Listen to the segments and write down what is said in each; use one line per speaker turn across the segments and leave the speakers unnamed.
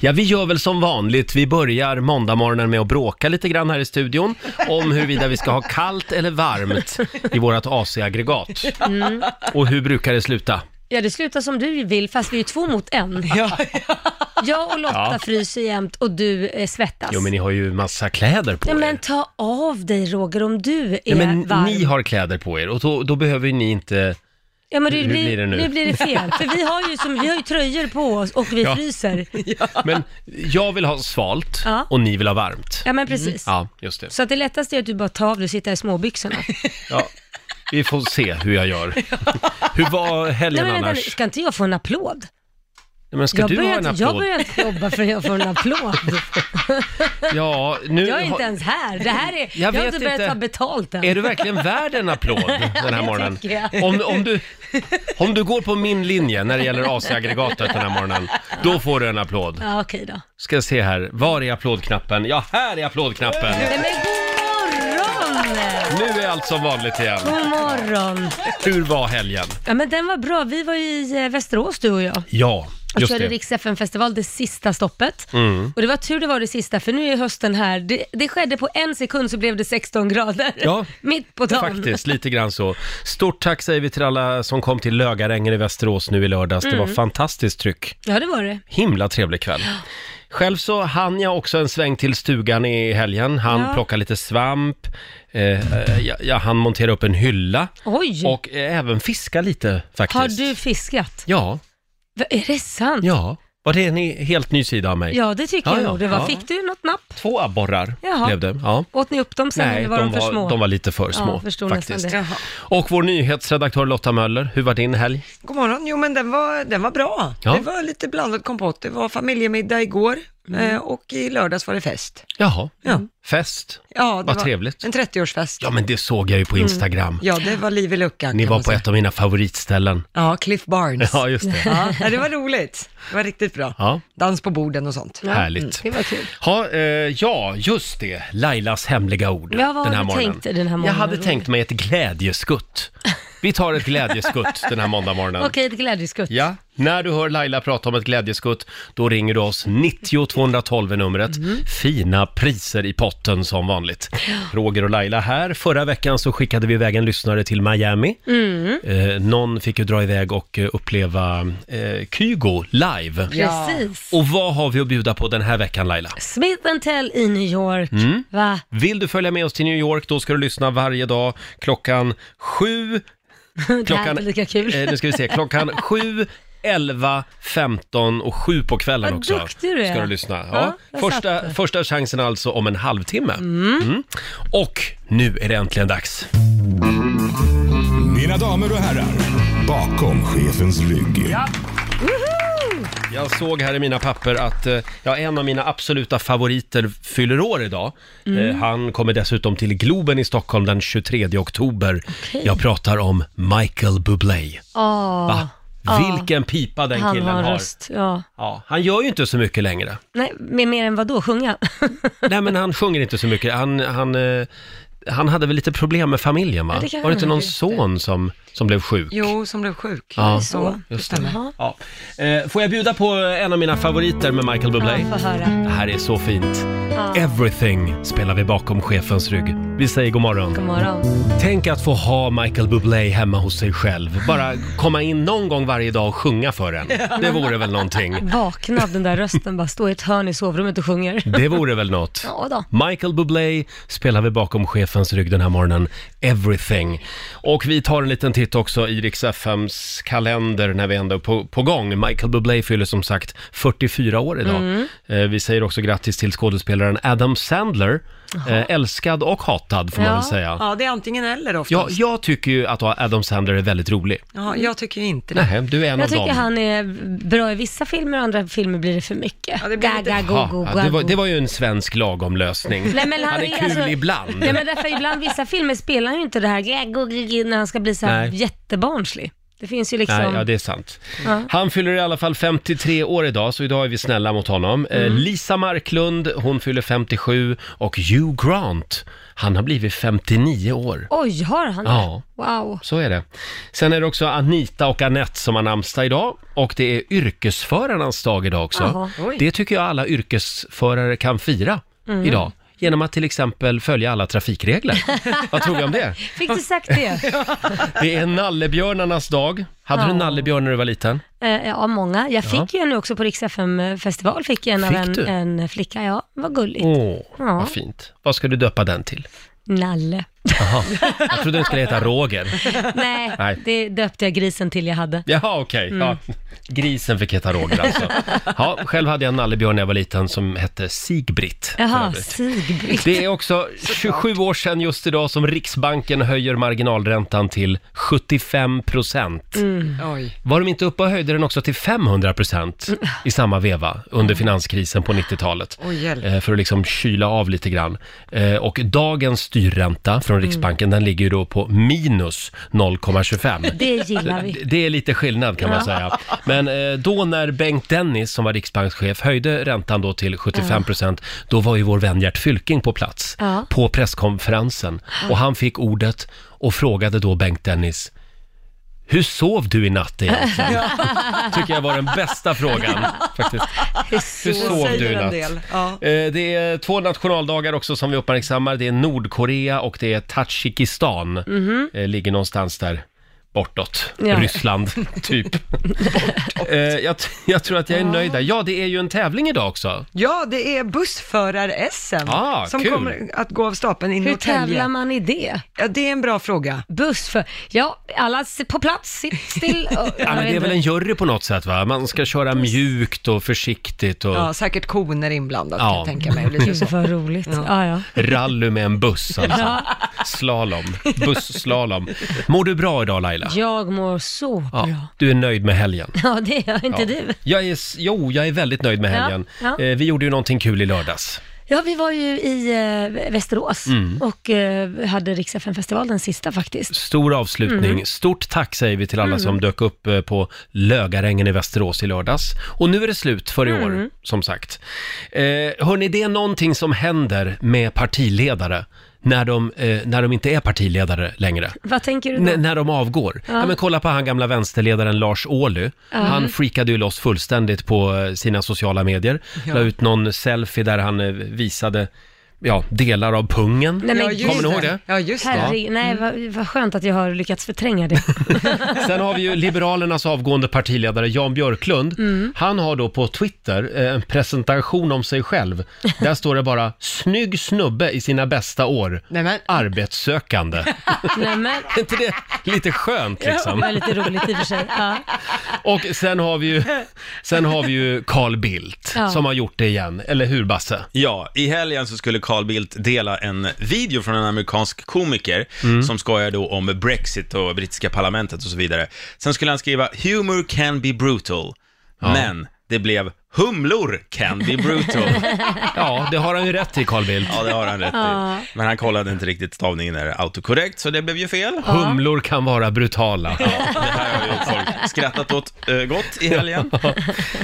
Ja, vi gör väl som vanligt. Vi börjar måndagmorgonen med att bråka lite grann här i studion om huruvida vi ska ha kallt eller varmt i vårt AC-aggregat.
Mm.
Och hur brukar det sluta?
Ja, det slutar som du vill, fast vi är ju två mot en.
Ja,
Jag och Lotta
Ja.
fryser jämt och du eh, svettas.
Jo, men ni har ju massa kläder på
Nej, men
er.
ta av dig Roger om du är
Nej, men
varm.
ni har kläder på er och då, då behöver ju ni inte...
Ja, men det
Hur
blir,
blir det nu?
nu? blir det fel. För vi har ju, som, vi har ju tröjor på oss och vi
Ja.
fryser.
Men jag vill ha svalt
Ja.
och ni vill ha varmt.
Ja, men precis.
Mm, Ja, just det.
Så att det lättaste är att du bara tar av dig och sitter i småbyxorna.
Ja, vi får se hur jag gör. Hur var
Nej,
helgen
men vänta, nu,
annars?
ska inte jag få en applåd?
Nej, Men ska
jag,
du
börjar
ha en
inte-
applåd?
jag börjar inte jobba för jag får en applåd.
Ja, nu...
Jag är
har-
inte ens här. Det här är, jag, har
vet
inte börjat
inte.
ta betalt än.
Är du verkligen värd en applåd den här
det
morgonen?
tycker jag.
Om, om, du, om du går på min linje när det gäller AC-aggregatet den här morgonen, då får du en applåd.
Ja, okej då.
Ska se här, var är applådknappen? Ja, här är applådknappen!
Nej, men god morgon!
Nu är allt som vanligt igen.
God morgon!
Hur var helgen?
Ja, men den var bra. Vi var ju i eh, Västerås du och jag
Ja,
och
just
körde
det. Mm.
Rix FN-festival, det sista stoppet. Och det var tur det var det sista, för nu är hösten här. Det, det skedde på en sekund så blev det 16 grader.
Ja,
Mitt på dagen.
Faktiskt, lite grann så. Stort tack säger vi till alla som kom till Lögarängen i Västerås nu i lördags. Det var
Mm.
fantastiskt tryck.
Ja, det var det.
Himla trevlig kväll. Själv så hann jag också en sväng till stugan i helgen. Han
Ja.
plocka lite svamp, eh, eh, jag, jag hann montera upp en hylla
Oj!
och eh, även fiska lite faktiskt.
har du fiskat?
Ja,
Va, är det sant?
ja. Var det en he- helt ny sida av mig?
Ja, det tycker
Ja,
jag
ja,
nog. Det var,
ja.
Fick du något napp?
Två abborrar
Jaha.
blev det. Ja.
Åt ni upp dem sen
Nej,
eller var de, för små?
var, de var lite för
Ja,
små
förstod nästan
faktiskt.
det.
Jaha.
Och vår nyhetsredaktör Lotta Möller, hur var din helg?
God morgon, jo men den var, den var bra.
Ja.
Det var lite blandad kompott. Det var familjemiddag igår
Mm.
eh, och i lördags var det fest.
Jaha,
Ja.
fest.
Ja, det
Vad
var
trevligt.
En 30-årsfest.
Ja, men det såg jag ju på
Mm.
Instagram.
Ja, det var liv i luckan.
Ni
kan
var
man
på
säga.
ett av mina favoritställen.
Ja, Cliff Barnes.
Ja, just det.
Ja, nej, det var roligt. Det var riktigt bra.
Ja.
Dans på borden och sånt.
Härligt.
Mm, Det var kul.
Ha, eh, ja, just det. Lailas hemliga ord
Ja,
den
vad
här
har du
morgonen.
tänkt dig den här morgonen,
Jag hade
Roger?
tänkt mig ett glädjeskutt. Vi tar ett glädjeskutt den här måndagmorgonen.
Okej, ett glädjeskutt.
Ja, när du hör Laila prata om ett glädjeskutt, då ringer du oss 90 212 är numret.
Mm.
Fina priser i potten som vanligt. Roger och Laila här. Förra veckan så skickade vi iväg en lyssnare till Miami.
Mm.
Eh, någon fick ju dra iväg och eh, uppleva eh, Kygo live.
Precis.
Och vad har vi att bjuda på den här veckan Laila?
Smith Tell i New York.
Mm.
Va?
Vill du följa med oss till New York, då ska du lyssna varje dag klockan 7,
Det här är
Klockan-
inte lika kul.
eh, nu ska vi se, klockan 7, 11, 15 och 7 på kvällen
Vad
också.
duktig du är.
Ska du lyssna. Ja,
Ja, där satt
första,
du.
första chansen alltså om en halvtimme. Mm. Och nu är det äntligen dags.
Mina damer och herrar, bakom chefens rygg.
Jag såg här i mina papper att eh, ja, en av mina absoluta favoriter fyller år idag. Eh,
Mm.
han kommer dessutom till Globen i Stockholm den 23 oktober. Jag pratar om Michael Bublé.
Ah,
Va? Vilken pipa den
han
killen
har en
har.
röst. Ja.
Ja, han gör ju inte så mycket längre.
Nej, med mer än vad då? Sjunga?
Nej, men han sjunger inte så mycket. Han, han, eh, han hade väl lite problem med familjen, va?
det kan
Var det inte
han
någon
ha gjort.
son som, som blev sjuk?
Jo, som blev sjuk.
Ja.
Så, det stämmer.
Jaha.
Ja. Eh, får jag bjuda på en av mina favoriter med Michael
Mm. Ja,
Bublé?
få höra.
Det här är så fint.
Ja.
Everything spelar vi bakom chefens rygg. Vi säger god morgon.
God morgon.
Tänk att få ha Michael Bublé hemma hos sig själv. Bara komma in någon gång varje dag och sjunga för en. Det vore väl någonting.
Vakna av den där rösten, bara stå i ett hörn i sovrummet och sjunger.
Det vore väl något.
Ja då.
Michael Bublé spelar vi bakom chefens rygg den här morgonen. Everything. Och vi tar en liten titt också i Rix FMs kalender när vi ändå är på, på gång. Michael Bublé fyller som sagt 44 år idag.
Mm.
Eh, vi säger också grattis till skådespelaren Adam Sandler. Eh, älskad och hatad får man
Ja.
väl säga.
Ja, det är antingen eller oftast.
Ja,
Ja,
jag tycker ju att Adam Sandler är väldigt rolig.
jag tycker ju inte det.
Nej, du är en
Jag
av dem.
tycker han är bra i vissa filmer och andra filmer blir det för mycket.
Ja, det blir lite-
Gaga,
Ja,
go, go,
ja, det, var,
go.
det var ju en svensk lagom lösning.
Nej, men alltså-
Han är kul ibland.
Nej men därför ibland vissa filmer spelar han ju inte det här gaga, go, go, go, när han ska bli så här
Nej.
jättebarnslig. Det finns ju liksom...
Nej, ja, det är sant.
Ja.
Han fyller i alla fall 53 år idag, så idag är vi snälla mot honom.
Mm.
Eh, Lisa Marklund, hon fyller 57 och Hugh Grant, han har blivit 59 år.
Oj, har han det?
Ja.
Wow.
Så är det. Sen är det också Anita och Annette som har namnsdag idag och det är yrkesförarnas dag idag också.
Jaha, oj. Mm.
det tycker jag alla yrkesförare kan fira idag. Genom att till exempel följa alla trafikregler. Vad tror vi om det?
Fick du sagt det?
Det är nallebjörnarnas dag. Hade du
Ja.
nallebjörn när du var liten?
Eh, Ja, många. Jag fick ju en nu också på Rix FM-festival, fick jag en
Fick
av en,
du?
en flicka. Ja, vad gulligt.
Åh,
Ja.
vad fint. Vad ska du döpa den till?
Nalle.
Jaha, jag trodde den skulle heta Roger.
Nej,
Nej.
det döpte jag grisen till jag hade.
Jaha, okej.
Mm.
Ja. Grisen fick heta Roger alltså. Ja, själv hade jag en nallebjörn när jag var liten som hette Sigbritt. för
Jaha,
övrigt.
Sigbritt.
Det är också 27 år sedan just idag som Riksbanken höjer marginalräntan till 75 procent.
Mm.
Oj.
Var de inte uppe och höjde den också till 500 procent i samma veva under finanskrisen på 90-talet?
Oj, hjälp.
Eh, För att liksom kyla av lite grann. Eh, Och dagens styrränta
Mm.
från Riksbanken, den ligger ju då på minus 0,25.
Det gillar vi.
Det är lite skillnad kan man
Ja.
säga. Men eh, då när Bengt Dennis som var riksbankschef höjde räntan då till 75 procent, då var ju vår vän Gert Fylking på plats
Ja.
på presskonferensen och han fick ordet och frågade då Bengt Dennis hur sov du i natt egentligen? Tycker jag var den bästa frågan faktiskt. Hur sov
säger
du i
en
natt?
del, ja.
Eh, Det är två nationaldagar också som vi uppmärksammar. Det är Nordkorea och det är Tadzjikistan.
Mhm.
Eh, Ligger någonstans där bortåt.
Ja.
Ryssland, typ. Eh, jag, t- jag tror att jag är nöjd där. Ja, det är ju en tävling idag också.
Ja, det är bussförar-SM
Ah,
som
kul.
kommer att gå av stapeln i
Hur
Norrtälje.
tävlar man i det?
Ja, det är en bra fråga.
Buss för... Ja, alla s- på plats, sitt still. och-
Ja,
jag
men
vet
det är väl
inte.
en jury på något sätt, va? Man ska köra mjukt och försiktigt och
Ja, säkert koner inblandat kan
Ja.
jag tänka mig. Lite så.
Gud vad roligt. Ja, ja.
rally med en buss. Alltså. Slalom, busslalom. Mår du bra idag Laila?
Jag mår så
Ja,
bra.
du är nöjd med helgen?
Ja, det är inte
Ja.
du.
Jag är, s- jo, jag är väldigt nöjd med
Ja,
helgen.
ja.
Eh, Vi gjorde ju någonting kul i lördags.
Ja, vi var ju i eh, Västerås
Mm.
och eh, hade Rix festival den sista faktiskt.
Stor avslutning.
Mhm.
Stort tack säger vi till alla som dök upp eh, på Lögarängen i Västerås i lördags. Och nu är det slut för i år,
Mhm.
som sagt. Eh, hörni, det är någonting som händer med partiledare när de, eh, när de inte är partiledare längre.
Vad tänker du då?
N- när de avgår. Ja. men kolla på han gamla vänsterledaren Lars Ohly. Han freakade ju loss fullständigt på eh, sina sociala medier. La ut någon selfie där han eh, visade ja, delar av pungen.
Nej, men
Ja,
gud.
just
Kommer ni ihåg det?
Ja, just det.
Herregud, nej vad, vad skönt att jag har lyckats förtränga det.
Sen har vi ju Liberalernas avgående partiledare Jan Björklund.
Mm.
Han har då på Twitter eh, en presentation om sig själv. Där står det bara “Snygg snubbe i sina bästa år.
Nej, men-
Arbetssökande”.
nej, men,
Är inte det lite skönt
det
liksom?
var lite roligt i och för sig. Ja.
Och sen har vi ju, sen har vi ju Carl Bildt
Ja.
som har gjort det igen. Eller hur Basse?
Ja, i helgen så skulle Carl Bildt dela en video från en amerikansk komiker som skojar då om Brexit och brittiska parlamentet och så vidare. Sen skulle han skriva “Humor can be brutal”, men det blev “Humlor can be brutal”.
Ja, det har han ju rätt i Carl Bildt.
Ja, det har han rätt i. Men han kollade inte riktigt stavningen där autokorrekt, så det blev ju fel.
Humlor kan vara brutala.
Det här har ju folk skrattat åt eh, gott i helgen.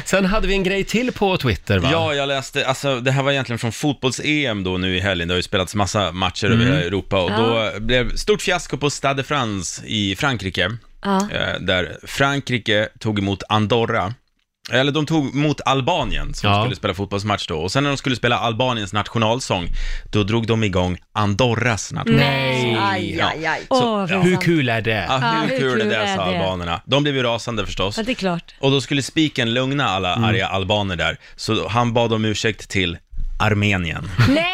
Sen hade vi en grej till på Twitter va?
Ja, jag läste, alltså det här var egentligen från fotbolls-EM då nu i helgen, det har ju spelats massa matcher över hela Europa och då blev stort fiasko på Stade France i Frankrike,
Ja.
eh, där Frankrike tog emot Andorra, eller de tog mot Albanien som
Ja.
skulle spela fotbollsmatch då, och sen när de skulle spela Albaniens nationalsång, då drog de igång Andorras nationalsång.
Nej.
Aj, aj, aj.
Åh,
Så,
vad
ja.
Hur
pinsamt.
kul är det?
Ah, hur, kul, är det, sa
är det?
albanerna. De blev ju rasande förstås.
Ja, det är klart.
Och då skulle spiken lugna alla arga albaner där, så han bad om ursäkt till Armenien.
Nej!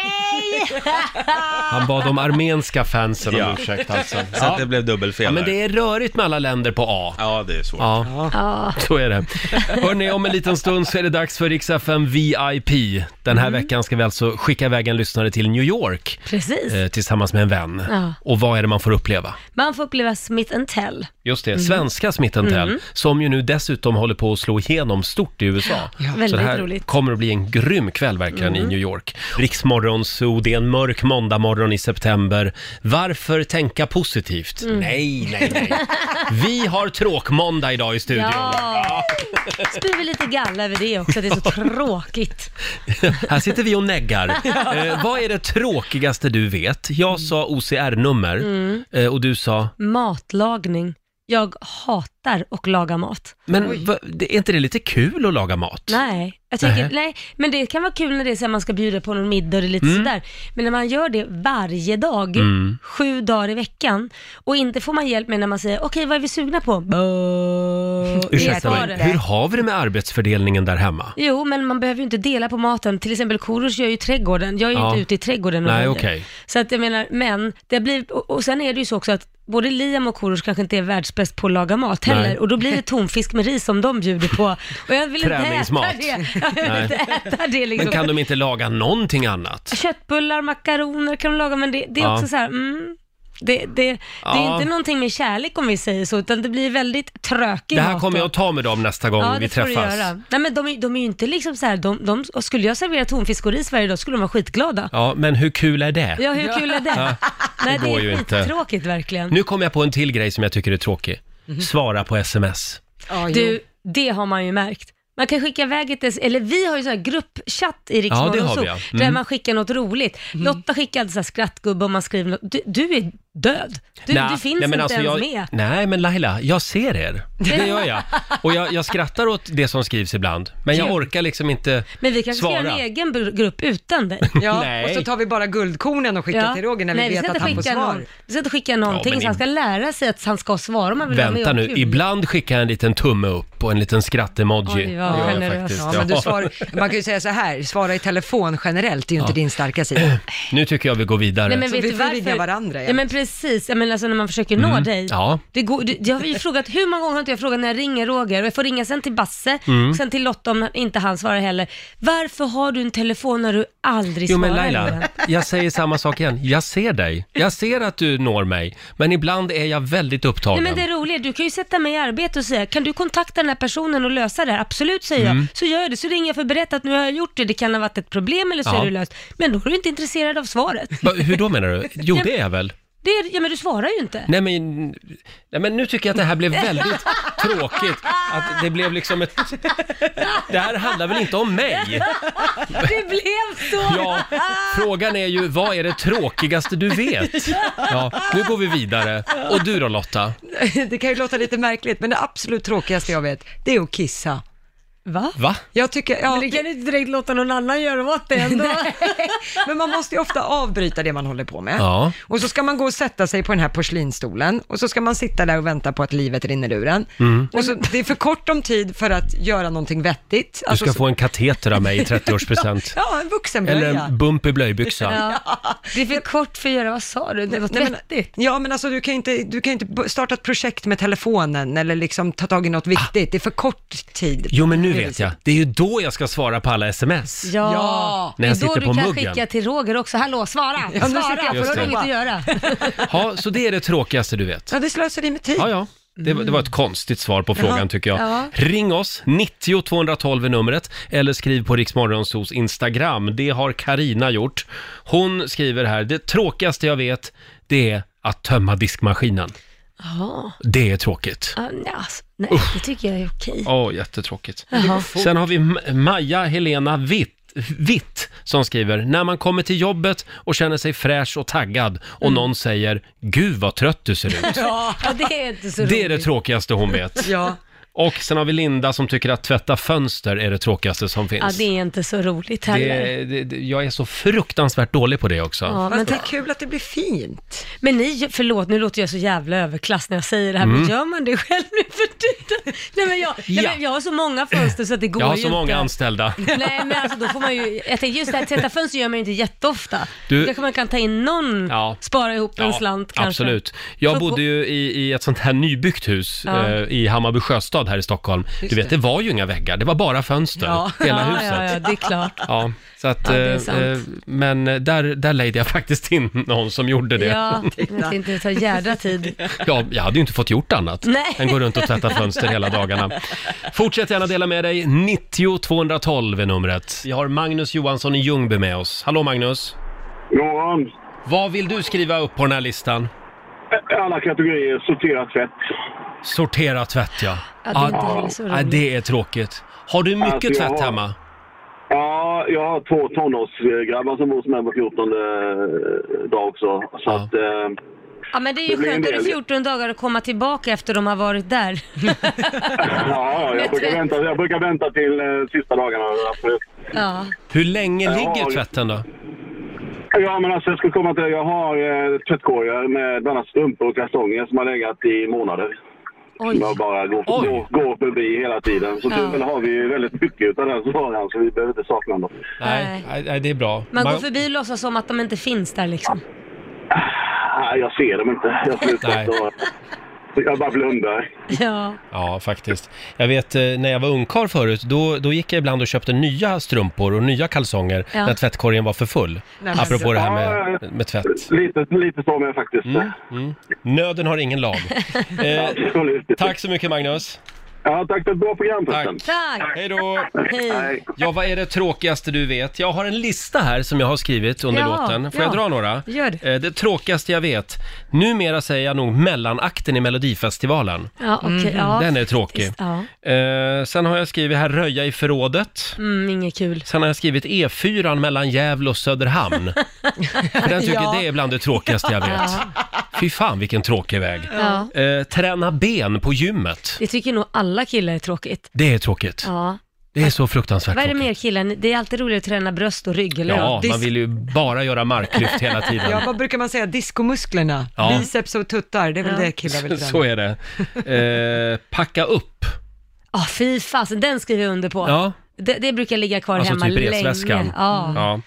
Han bad de armenska fansen om
Ja.
ursäkt alltså.
Så
Ja.
att det blev dubbelfel
ja, men
där.
det är rörigt med alla länder på A.
Ja, det är svårt.
Ja, så är det. Hörni, om en liten stund så är det dags för Rix FM VIP. Den här veckan ska vi alltså skicka iväg en lyssnare till New York
Precis.
eh, tillsammans med en vän.
Ja.
Och vad är det man får uppleva?
Man får uppleva Smith and Tell.
Just det, svenska Smith Tell,
Mm.
som ju nu dessutom håller på att slå igenom stort i USA. Så
Väldigt
det här
roligt. Mm.
kommer att bli en grym kväll verkligen i New York. Riksmorgon Zoo, det det är en mörk måndagmorgon i september. Varför tänka positivt?
Mm.
Nej, nej, nej. Vi har tråkmåndag idag i studion.
Ja. Spyr vi lite galla över det också, det är så tråkigt.
Här sitter vi och neggar. Eh, vad är det tråkigaste du vet? Jag sa OCR-nummer
Mm.
eh, och du sa...
Matlagning. Jag hatar att laga mat.
Men va, det- är inte det lite kul att laga mat?
Nej, jag tycker,
Nähä.
nej, men det kan vara kul när det är så här, man ska bjuda på någon middag eller
Mm.
lite sådär. Men när man gör det varje dag, sju dagar i veckan och inte får man hjälp med när man säger okej vad är vi sugna på? Bå-
Ursäkta
det är
mig,
det.
hur har vi det med arbetsfördelningen där hemma?
Jo, men man behöver ju inte dela på maten. Till exempel Korosh gör ju trädgården. Jag är ju
Ja.
inte ute i trädgården och
Nej,
röjer.
okej.
Så att jag menar, men det blir, och, och sen är det ju så också att både Liam och Korosh kanske inte är världsbäst på att laga mat heller.
Nej.
Och då blir det tonfisk med ris som de bjuder på. Och jag vill inte äta
Träningsmat.
det. Jag vill inte äta det liksom.
Men kan de inte laga någonting
Alltså,
annat?
Köttbullar, makaroner kan de laga, men det, det är
Ja.
också så här, mm. Det, det, det är
Ja.
inte någonting med kärlek om vi säger så, utan det blir väldigt trökig
Det här
mat
kommer
då.
jag att ta med dem nästa gång
Ja,
vi
det får du
träffas.
göra. Nej, men de, är- de är ju inte liksom så här, de, de, och skulle jag servera tonfisk och ris varje dag skulle de vara skitglada.
Ja, men hur kul är det?
Ja, hur kul är det? Nej,
går
det
ju
är
inte.
skittråkigt verkligen.
Nu kom jag på en till grej som jag tycker är tråkig.
Mhm.
Svara på sms.
Ja, jo.
Du, det har man ju märkt. Man kan skicka iväg ett, s- eller vi har ju så här gruppchatt
Ja,
i
det
Riksmorgon
har vi, ja. Mm.
där man skickar något roligt. Lotta skickar alltid så här skrattgubbe och man skriver något. Du, du är död. Du,
Nej,
du finns
nej, men
inte
alltså
ens
jag,
med.
Nej, men Laila, jag ser er. Det gör jag. Och jag, jag skrattar åt det som skrivs ibland, men jag orkar liksom inte
Men vi kanske
svara.
ska göra en egen br- grupp utan dig.
Ja,
Nej.
och så tar vi bara guldkornen och skickar
Ja.
till Roger när
Nej,
vi vet
ska
att
inte
han får
skicka
svar.
Någon, vi ska inte skicka någonting,
men
så han
i-
ska lära sig att han ska svara om han vill vara
Vänta
med och
nu,
ha kul.
ibland skickar jag en liten tumme upp och en liten skratt-emoji.
Oj, vad
Det gör jag
generös.
faktiskt,
Ja, men du
ja.
svarar, man kan ju säga så här, svara i telefon generellt, det är ju inte din starka sida.
Nu tycker jag vi går vidare.
Nej, men
Så
vet
vi
du
får
varför?
ringa varandra
Ja
igen.
men precis, jag menar alltså när man försöker nå dig.
Mm. Ja.
Det går, det, jag har ju frågat, hur många gånger har inte jag frågat när jag ringer Roger och jag får ringa sen till Basse
Mm.
och sen till Lotta om inte han svarar heller. Varför har du en telefon när du aldrig
Jo
svarar?
men
Ellen?
Laila, jag säger samma sak igen. Jag ser dig. Jag ser att du når mig. Men ibland är jag väldigt
Nej
upptagen.
men det roliga är, du kan ju sätta mig i arbete och säga, kan du kontakta den här personen och lösa det här? Absolut säger
Mm.
jag. Så gör jag det, så ringer jag för att berätta att nu har jag gjort det, det kan ha varit ett problem eller så
Ja.
är det löst. Men då är du inte intresserad av svaret.
Va, Hur då menar du? Jo, det är jag väl.
Det är, ja men du svarar ju inte.
Nej men, nej men nu tycker jag att det här blev väldigt tråkigt. Att det blev liksom ett... Det här handlar väl inte om mig?
Det blev så!
Ja, frågan är ju vad är det tråkigaste du vet? Ja, nu går vi vidare. Och du då Lotta?
Det kan ju låta lite märkligt, men det absolut tråkigaste jag vet, det är att kissa.
Va?
Va?
Jag tycker, ja,
Det kan du inte direkt låta någon annan göra åt det ändå.
men man måste ju ofta avbryta det man håller på med.
Ja.
Och så ska man gå och sätta sig på den här porslinstolen och så ska man sitta där och vänta på att livet rinner ur en.
Mm.
Och så, det är för kort om tid för att göra någonting vettigt.
Du
Alltså,
ska
så-
få en kateter av mig i 30-årspresent.
Ja, en vuxenblöja.
Eller en bump i blöjbyxa.
Ja. Det är för kort för att göra, vad sa du? Det var
Nej, men-
vettigt.
Ja, men alltså du kan ju inte, du kan ju inte b- starta ett projekt med telefonen eller liksom ta tag i något viktigt. Det är för kort tid.
Jo men nu vet jag, det är ju då jag ska svara på alla sms.
Ja,
Ja.
När jag
det är då
sitter
du
på
kan
muggen.
skicka till Roger också. Hallå, svara!
nu sitter
svara,
jag
för då har
på
du inget att göra.
Ja, så det är det tråkigaste du vet.
Ja, det slösar i med tid.
Ja, ja. Det, var- det var ett konstigt svar på frågan
Jaha.
tycker jag.
Mm. Ja.
Ring oss, 90 212 är numret, eller skriv på Riksmorgonsos Instagram. Det har Karina gjort. Hon skriver här, det tråkigaste jag vet, det är att tömma diskmaskinen.
Jaha.
Det är tråkigt.
Ja, nej, alltså, nej, det tycker jag är okej.
Åh, jättetråkigt.
Jaha.
Sen har vi Ma- Maja Helena Witt. Vitt som skriver, när man kommer till jobbet och känner sig fräsch och taggad och någon säger “Gud vad trött du ser ut”.
Mm. Ja, det är inte så
Det är det
roligt.
tråkigaste hon vet.
Ja.
Och sen har vi Linda som tycker att tvätta fönster är det tråkigaste som
Ja,
finns.
det är inte så roligt heller.
det, det, det, jag är så fruktansvärt dålig på det också.
Ja, men,
Fast det är kul att det blir fint.
men ni, förlåt, nu låter jag så jävla överklass när jag säger det här, men gör man det själv nu för tiden? Nej, men jag, nej,
Mm. Ja.
men jag har så många fönster så att det går
jag har
ju
så många
inte.
anställda.
Nej men alltså då får man ju, jag tänkte just det här tvätta fönster gör man ju inte jätteofta.
Du-
Du, kanske man kan ta in någon,
Ja.
spara ihop en slant kanske.
Absolut. Jag
Så på-
bodde ju i, i ett sånt här nybyggt hus
Ja.
eh, i Hammarby sjöstad här i Stockholm. du vet, det. var ju inga väggar, det var bara fönster,
Ja.
hela
ja,
huset.
Ja,
Ja,
ja, det är klart.
så att,
Ja, det är
eh,
sant.
eh, men där, där lejde jag faktiskt in någon som gjorde det. Ja.
Ja, men jag tänkte det tar jädra tid.
jag hade ju inte fått gjort annat
Nej.
än gå runt och tvätta fönster hela dagarna. Fortsätt gärna dela med dig, 90 212 är numret. Vi har Magnus Johansson i Ljungby med oss. Hallå Magnus!
God morgon.
Vad vill du skriva upp på den här listan?
Alla kategorier, sortera tvätt.
Sortera tvätt, ja.
Ja, det är inte heller så
ja,
roligt.
det är tråkigt. Har du mycket
Alltså, jag
tvätt
har-
hemma?
Ja, jag har två tonårsgrabbar som bor hos mig på 14 dag också. Så
Ja.
att, eh,
Ja men det är
Det
ju
blir
skönt
en
under
del.
14 dagar att komma tillbaka efter de har varit där.
ja,
Med
jag brukar,
tvätt.
vänta, jag brukar vänta till eh, sista dagarna. absolut.
Ja.
Hur länge
Jag
ligger
har-
tvätten då?
Ja, men alltså jag skulle komma till Jag har eh, tvättkorgar med bland annat strumpor och kalsonger som har legat i månader.
Oj.
Som jag bara går,
Oj.
går, går förbi hela tiden. Så
Ja.
tur väl har vi ju väldigt mycket av den varan så vi behöver inte sakna dem.
Nej, nej, nej, det är bra.
Man går förbi och låtsas som att de inte finns där liksom.
Nej, jag ser dem inte. Jag
Nej.
slutar så... Jag bara blundar.
Ja.
Ja, faktiskt. Jag vet eh, när jag var ungkarl förut, då, då gick jag ibland och köpte nya strumpor och nya kalsonger
Ja.
när tvättkorgen var för full.
men
Apropå
så-
det här med,
Ja,
med tvätt.
Lite, lite så med faktiskt.
Nöden har ingen lag. Eh,
Absolut.
tack så mycket Magnus.
Ja, tack för ett bra program förresten.
Tack!
Hej då!
Hej.
Nej.
Ja, vad är det tråkigaste du vet? Jag har en lista här som jag har skrivit under
Ja,
låten. Får jag
ja.
dra några?
Gör det.
Eh, Det tråkigaste jag vet. Numera säger jag nog mellanakten i Melodifestivalen.
Ja, okej. ja.
Mm, Den är tråkig.
Visst, Ja.
Eh, sen har jag skrivit här röja i förrådet.
Mm, inget kul.
Sen har jag skrivit E4 mellan Gävle och Söderhamn. För den tycker
Ja.
det är bland det tråkigaste jag vet. Fy fan vilken tråkig väg.
Ja.
Eh, träna ben på gymmet.
Det tycker nog alla killar är tråkigt.
Det är tråkigt.
Ja.
Det är så fruktansvärt
Vad är det
tråkigt.
mer killar? Det är alltid roligt att träna bröst och rygg, eller
Ja,
hur?
man vill ju bara göra marklyft hela
Ja,
tiden.
vad brukar man säga? Diskomusklerna,
Ja.
biceps och tuttar, det är väl det killar vill träna.
Så är det. Eh, packa upp.
Ja, fy fasen, den skriver jag under på.
Ja,
Det, det brukar ligga kvar
alltså
hemma
typ
länge.
resväskan. Mm.
Ja.
Ja.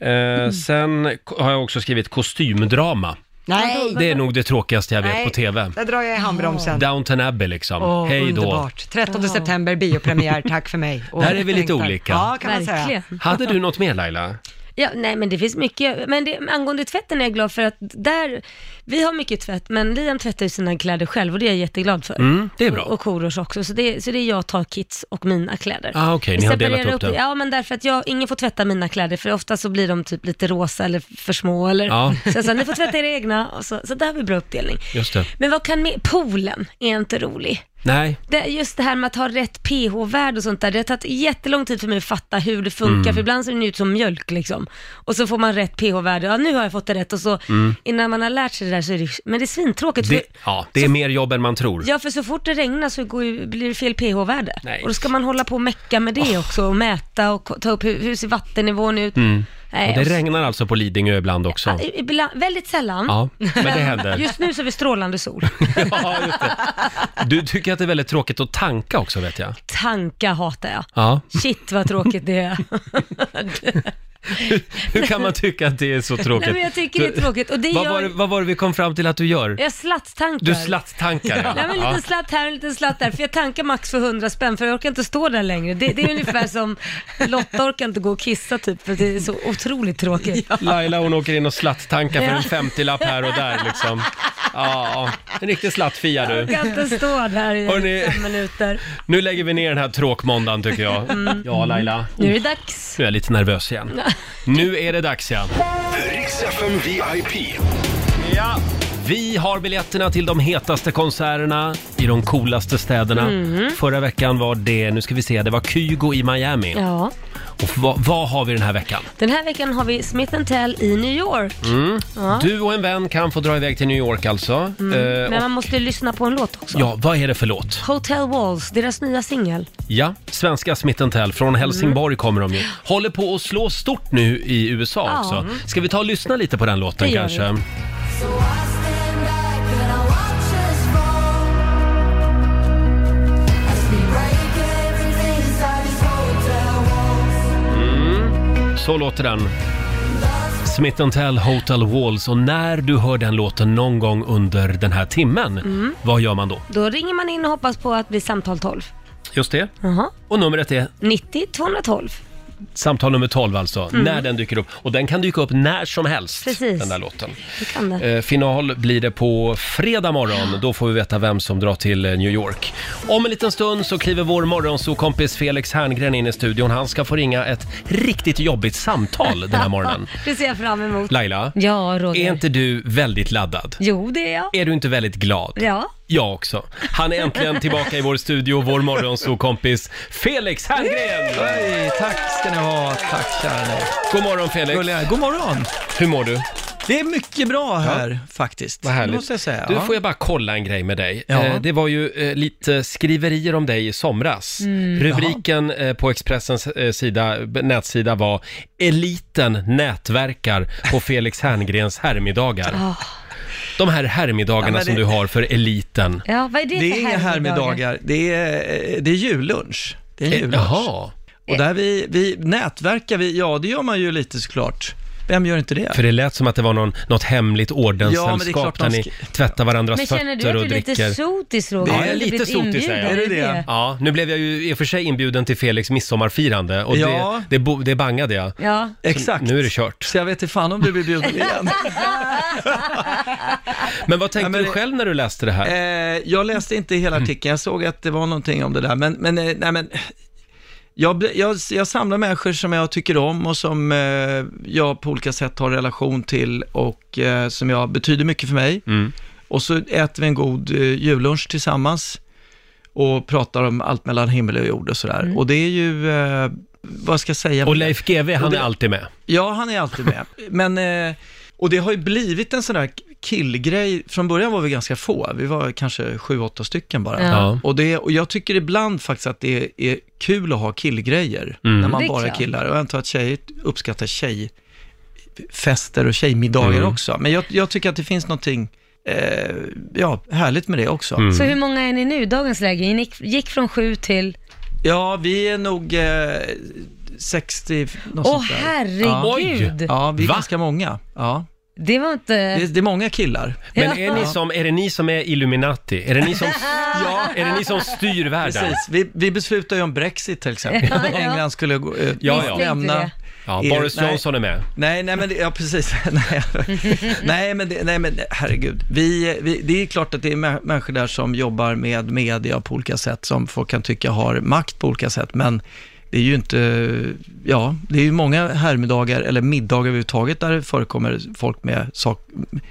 Eh, sen ko- har jag också skrivit kostymdrama.
Nej,
Det är nog det tråkigaste jag vet på TV.
där drar jag i handbromsen.
Downton Abbey liksom.
Åh,
Hej då.
Underbart. 13 september, biopremiär, tack för mig. Och
Där är vi lite
längtar.
olika.
Ja, kan man säga.
Verkligen.
Hade du något mer Laila?
Ja, nej men det finns mycket, men det, angående tvätten är jag glad för att där, vi har mycket tvätt, men Liam tvättar ju sina kläder själv och det är jag jätteglad för.
Mm, det är bra.
Och, och Korosh också, så det, så det är jag tar kits och mina kläder.
Ah, okej,
Vi
ni har
separerar
delat upp det.
Ja, men därför att jag, ingen får tvätta mina kläder, för ofta så blir de typ lite rosa eller för små eller
Ja.
så jag sa, ni får tvätta era egna, och så, så där har vi bra uppdelning.
Just det.
Men vad kan, med, poolen är inte rolig.
Nej,
Det, just det här med att ha rätt pH-värde och sånt där, det har tagit jättelång tid för mig att fatta hur det funkar,
Mm.
för ibland ser den ut som mjölk liksom. Och så får man rätt pH-värde, ja nu har jag fått det rätt och så innan man har lärt sig det där så är det, men det är svintråkigt.
Mm. det,
för,
ja, det är mer jobb än man tror.
ja för så fort det regnar så går, ju- blir det fel pH-värde.
Nej. Ah.
Och då ska man hålla på och mecka med det också och mäta och ko- ta upp hur, hur ser vattennivån ut. Nej,
Och Mm. det
och så-
regnar alltså på Lidingö ibland också.
Ja, i- ibland, väldigt sällan.
Ja, men det händer.
Just nu så är vi strålande sol.
Ja, just det. Du tycker att det är väldigt tråkigt att tanka också vet jag.
Tanka hatar jag.
Ja.
Shit vad tråkigt det är.
Hur kan man tycka att det är så
Nej,
tråkigt?
men jag tycker det är tråkigt. Och det
Vad
gör-
var det, vad var det vi kom fram till att du gör?
Jag slattstankar.
Du slatt-tankar ja.
Nej, men en liten slatt här och en liten slatt där. För jag tankar max för 100 spänn, för jag orkar inte stå där längre. Det, det är ungefär som Lotta orkar inte gå och kissa typ, för det är så otroligt tråkigt. Ja.
Laila hon åker in och slatt-tankar för
Ja.
en 50-lapp här och där liksom. Ja, en riktig slattfia du.
Jag kan inte stå där i
Hörrni.
fem minuter.
Nu lägger vi ner den här tråkmåndagen tycker jag.
Mm.
Ja, Laila.
Nu är det dags.
Nu är jag lite nervös igen. Nu är det dags ja.
Riks FM VIP.
Ja. Vi har biljetterna till de hetaste konserterna i de coolaste städerna.
Mhm.
Förra veckan var det, nu ska vi se, det var Kygo i Miami.
Ja,
Och vad, vad har vi den här veckan?
den här veckan har vi Smith Tell i New York.
Mm. Du och en vän kan få dra iväg till New York alltså. Eh,
Mm. Men
och,
man måste ju lyssna på en låt också.
ja, vad är det för låt?
Hotel Walls, deras nya singel.
Ja, svenska Smith Tell från Helsingborg
Mm.
kommer de ju. Håller på att slå stort nu i USA
Ja.
också. Ska vi ta och lyssna lite på den låten
Det gör
kanske?
So I stand back and I watch us fall As we break everything inside these hotel walls
Så låter den. Smith Tell Hotel Walls och när du hör den låten någon gång under den här timmen, vad gör man då?
Då ringer man in och hoppas på att bli samtal 12.
Just det.
Jaha.
Och numret är?
90 212.
Samtal nummer 12 alltså, när den dyker upp. Och den kan dyka upp när som helst,
Precis.
den där låten.
Det kan det.
Eh, final blir det på fredag morgon. Då får vi veta vem som drar till eh, New York. Om en liten stund så kliver vår morgonsokompis Felix Herngren in i studion. Han ska få ringa ett riktigt jobbigt samtal den här morgonen.
Det ser jag fram emot.
Laila,
Ja, Roger.
är inte du väldigt laddad?
Jo, det är jag.
Är du inte väldigt glad?
Ja.
Jag också. Han är äntligen tillbaka i vår studio, vår morgonsokompis Felix Herngren!
Hej, tack ska ni ha. Tack kära ni.
God morgon Felix!
Gulliga. God morgon.
Hur mår du?
Det är mycket bra här faktiskt.
Vad härligt.
Det måste jag säga.
Du,
ja.
får jag bara kolla en grej med dig.
Ja.
Eh, det var ju eh, lite skriverier om dig i somras.
Mm.
Rubriken eh, på Expressens eh, sida, b- nätsida var “Eliten nätverkar på Felix Herngrens härmiddagar”. De här
Ah.
härmiddagarna
Ja, men
som
det-
du har för eliten.
Ja, vad är det,
Det
för
är inga härmiddagar, det är, eh, det är jullunch. Det är jullunch.
Eh, Jaha,
Och där vi, vi nätverkar, vi, ja det gör man ju lite såklart. Vem gör inte det?
för det lät som att det var någon, något hemligt
Ja, men det är
ordenssällskap
klart man
där ni
sk-
tvättar varandras
Men känner du
fötter
att du
och
är
dricker.
lite sotis, Roger?
Ja,
Har du
lite
blivit
sotis är
inbjuden?
jag.
Är det det?
Ja, nu blev jag ju i och för sig inbjuden till Felix midsommarfirande och
Ja.
det, det, bo, det bangade jag.
Ja.
Exakt.
Nu är det kört.
Så jag vet inte fan om du blir bjuden igen.
Men vad tänkte
Ja, men
du
det-
själv när du läste det här? Mm.
Eh, jag läste inte hela artikeln, jag såg att det var någonting om det där, men, men, eh, nej, men jag, blir- jag, jag samlar människor som jag tycker om och som eh, jag på olika sätt har relation till och eh, som jag betyder mycket för mig.
Mm.
Och så äter vi en god eh, jullunch tillsammans och pratar om allt mellan himmel och jord och sådär. Och det är ju, eh, vad ska jag säga?
och Leif GW, han
och det-
är alltid med.
Ja, han är alltid med. Men, eh, och det har ju blivit en sån där killgrej. Från början var vi ganska få. Vi var kanske sju, åtta stycken bara.
Ja.
Ja.
Och, det, och jag tycker ibland faktiskt att det är kul att ha killgrejer när
Det
man
är
bara är
klart.
killar. Och jag antar att tjejer uppskattar tjejfester och tjejmiddagar också. Men jag, jag tycker att det finns någonting eh, ja, härligt med det också.
Så
Mm.
hur många är ni nu, dagens läge? Ni gick från sju till...
Ja, vi är nog eh, 60, något
Åh
sånt där.
herregud!
Ja, vi är
Va?
ganska många. Ja.
Det var inte...
Det, det är många killar.
Men är,
Ja.
ni som, är det ni som är Illuminati? Är det ni som, är det ni som styr världen?
Precis. Vi, vi beslutade ju om Brexit till exempel.
Ja, ja.
England skulle gå, eh,
Ja, ja.
lämna.
Visste
Ja,
Er-
Boris
nej.
Johnson är med.
Nej, nej men det, ja precis. nej, nej, men det, nej, men herregud. Vi, vi, det är klart att det är mä- människor där som jobbar med media på olika sätt, som folk kan tycka har makt på olika sätt, men det är ju inte, ja, det är ju många härmiddagar eller middagar överhuvudtaget där det förekommer folk med sak,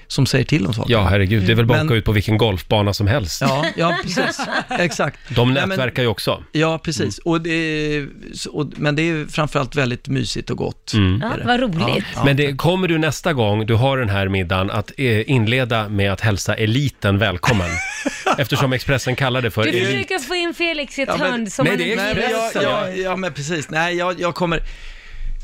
som säger till om saker.
Ja, herregud, det är väl bara att
Men-
gå ut på vilken golfbana som helst.
ja, ja precis. Exakt.
De
Nej, men-
nätverkar ju också.
Ja, precis. Och det är, så- och, men det är framförallt väldigt mysigt och gott.
Ja, vad roligt.
Ja.
Men det, kommer du nästa gång du har den här middagen att eh, inleda med att hälsa eliten välkommen? Eftersom Expressen kallar det för
Du
elit.
försöker få in Felix i ett
Ja, men-
hörn som
Nej,
han
det är
Nej,
inte
men
Expressen,
jag, jag, ja, men precis. Nej, jag, jag kommer...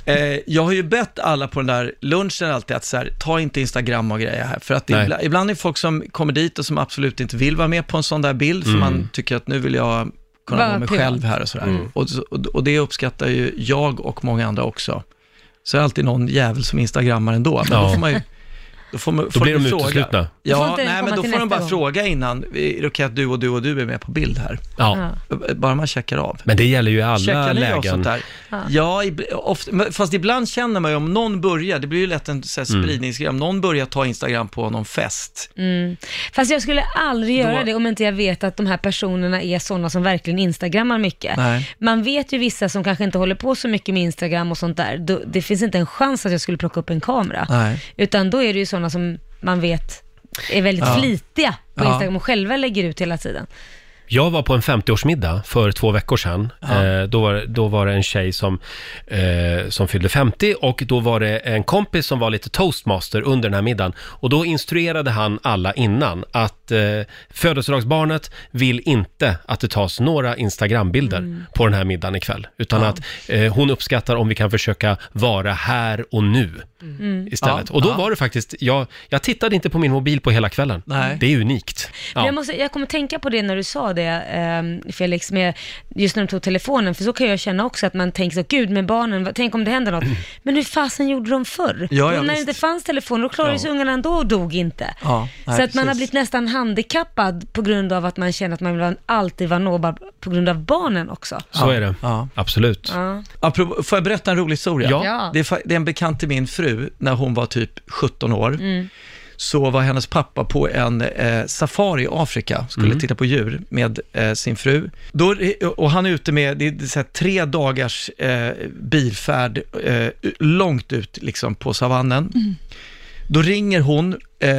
Eh, jag har ju bett alla på den där lunchen alltid att så här, ta inte Instagram och grejer här. För att det,
Nej.
ibla- ibland är det folk som kommer dit och som absolut inte vill vara med på en sån där bild, för
Mm.
man tycker att nu vill jag kunna
Vara
vara mig
privat.
själv här och sådär. Och, så- och, och det uppskattar ju jag och många andra också. Så är det alltid någon jävel som instagrammar ändå, men
Ja.
då får man ju... Då, får man,
Då
folk
blir de
ju fråga.
uteslutna.
Då får
Ja,
inte
nej,
den komma
men då
till
får de
nästa
bara
gång.
fråga innan, "Eh, är det okej att du och du och du är med på bild här?
Ja,
Bara man checkar av.
men det gäller ju i alla
Checkar ni av
lägen.
sånt där? Ja, ib- ofta, men- fast ibland känner man ju om någon börjar, det blir ju lätt en så här spridningsgrej, om någon börjar ta Instagram på någon fest.
Fast jag skulle aldrig göra
Då-
det om inte jag vet att de här personerna är sådana som verkligen instagrammar mycket.
Nej.
Man vet ju vissa som kanske inte håller på så mycket med Instagram och sånt där. Då, det finns inte en chans att jag skulle plocka upp en kamera.
Nej.
Utan då är det ju sådana som man vet är väldigt flitiga på
Ja.
Instagram och själva lägger ut hela tiden.
Jag var på en 50-årsmiddag för två veckor sedan. Eh, då, var, då var det en tjej som, eh, som fyllde 50 och då var det en kompis som var lite toastmaster under den här middagen. Och då instruerade han alla innan att eh, födelsedagsbarnet vill inte att det tas några Instagrambilder
Mm.
på den här middagen ikväll. Utan att eh, hon uppskattar om vi kan försöka vara här och nu istället.
Mm. Ja,
Och då
ja.
var det faktiskt, jag, jag tittade inte på min mobil på hela kvällen.
Nej.
Det är unikt. Ja.
Men jag, måste, jag kommer tänka på det när du sa det, det ehm, Felix, med just när de tog telefonen, för så kan jag känna också att man tänker så, gud med barnen, vad- tänk om det händer något. Men hur fasen gjorde de förr?
Ja, ja,
Men när det
visst.
inte fanns telefoner, då klarade sig ungarna ändå och dog inte.
Ja, nej,
så att man har
precis.
blivit nästan handikappad på grund av att man känner att man vill alltid vara nåbar på grund av barnen också.
Så är det.
Ja.
Absolut.
Ja.
Apropå, får jag berätta en rolig historia?
Ja.
Ja.
Det, är, fa- det är en bekant till min fru, när hon var typ 17 år, så var hennes pappa på en eh, safari i Afrika, skulle titta på djur med eh, sin fru. Då, och han är ute med, det är, så här, tre dagars eh, bilfärd, eh, långt ut liksom på savannen. Då ringer hon eh,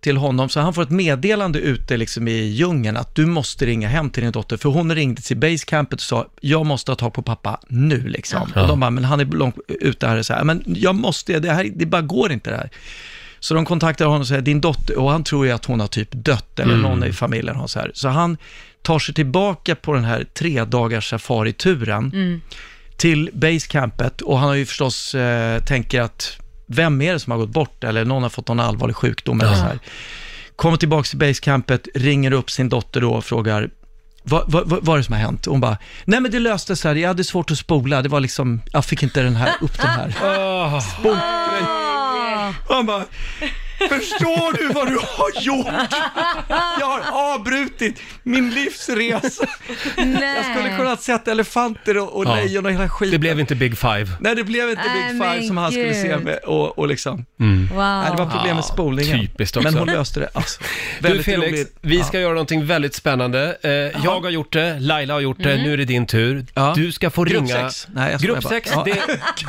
till honom, så han får ett meddelande ute liksom i djungeln att du måste ringa hem till din dotter. För hon ringde till basecampet och sa, jag måste ha tag på pappa nu liksom.
Ja.
Och de bara, men han är långt ute här. och Så här men jag måste, det här, det bara går inte det här. Så de kontaktar honom och säger, din dotter, och han tror ju att hon har typ dött, eller någon i familjen har så här. Så han tar sig tillbaka på den här tre dagars safarituren till basecampet och han har ju förstås eh, tänker att vem är det som har gått bort eller någon har fått någon allvarlig sjukdom eller så här. Kommer tillbaka till basecampet, ringer upp sin dotter då och frågar vad, vad, vad, vad är det som har hänt? Och Hon bara, nej men det löste sig, jag hade svårt att spola, det var liksom, jag fick inte den här, upp den här.
Åh,
Och Han bara, förstår du vad du har gjort? Jag har avbrutit min livsresa.
Nej.
Jag skulle kunnat sett elefanter och, och
Ja.
lejon och hela skiten.
det blev inte Big Five.
Nej, det blev inte
Nej,
Big
men
Five som han skulle se
gud.
med och, och liksom.
Wow.
Nej, det var problem med spolningen.
typiskt också.
Men hon löste det. Alltså,
Du
väldigt
Felix,
roligt.
vi
Ja.
ska göra någonting väldigt spännande. Eh, jag har gjort det, Laila har gjort det, nu är det din tur.
Ja.
Du ska få
Grupp
ringa...
sex. Nej, jag skojar
Grupp
bara.
6,
Ja.
det,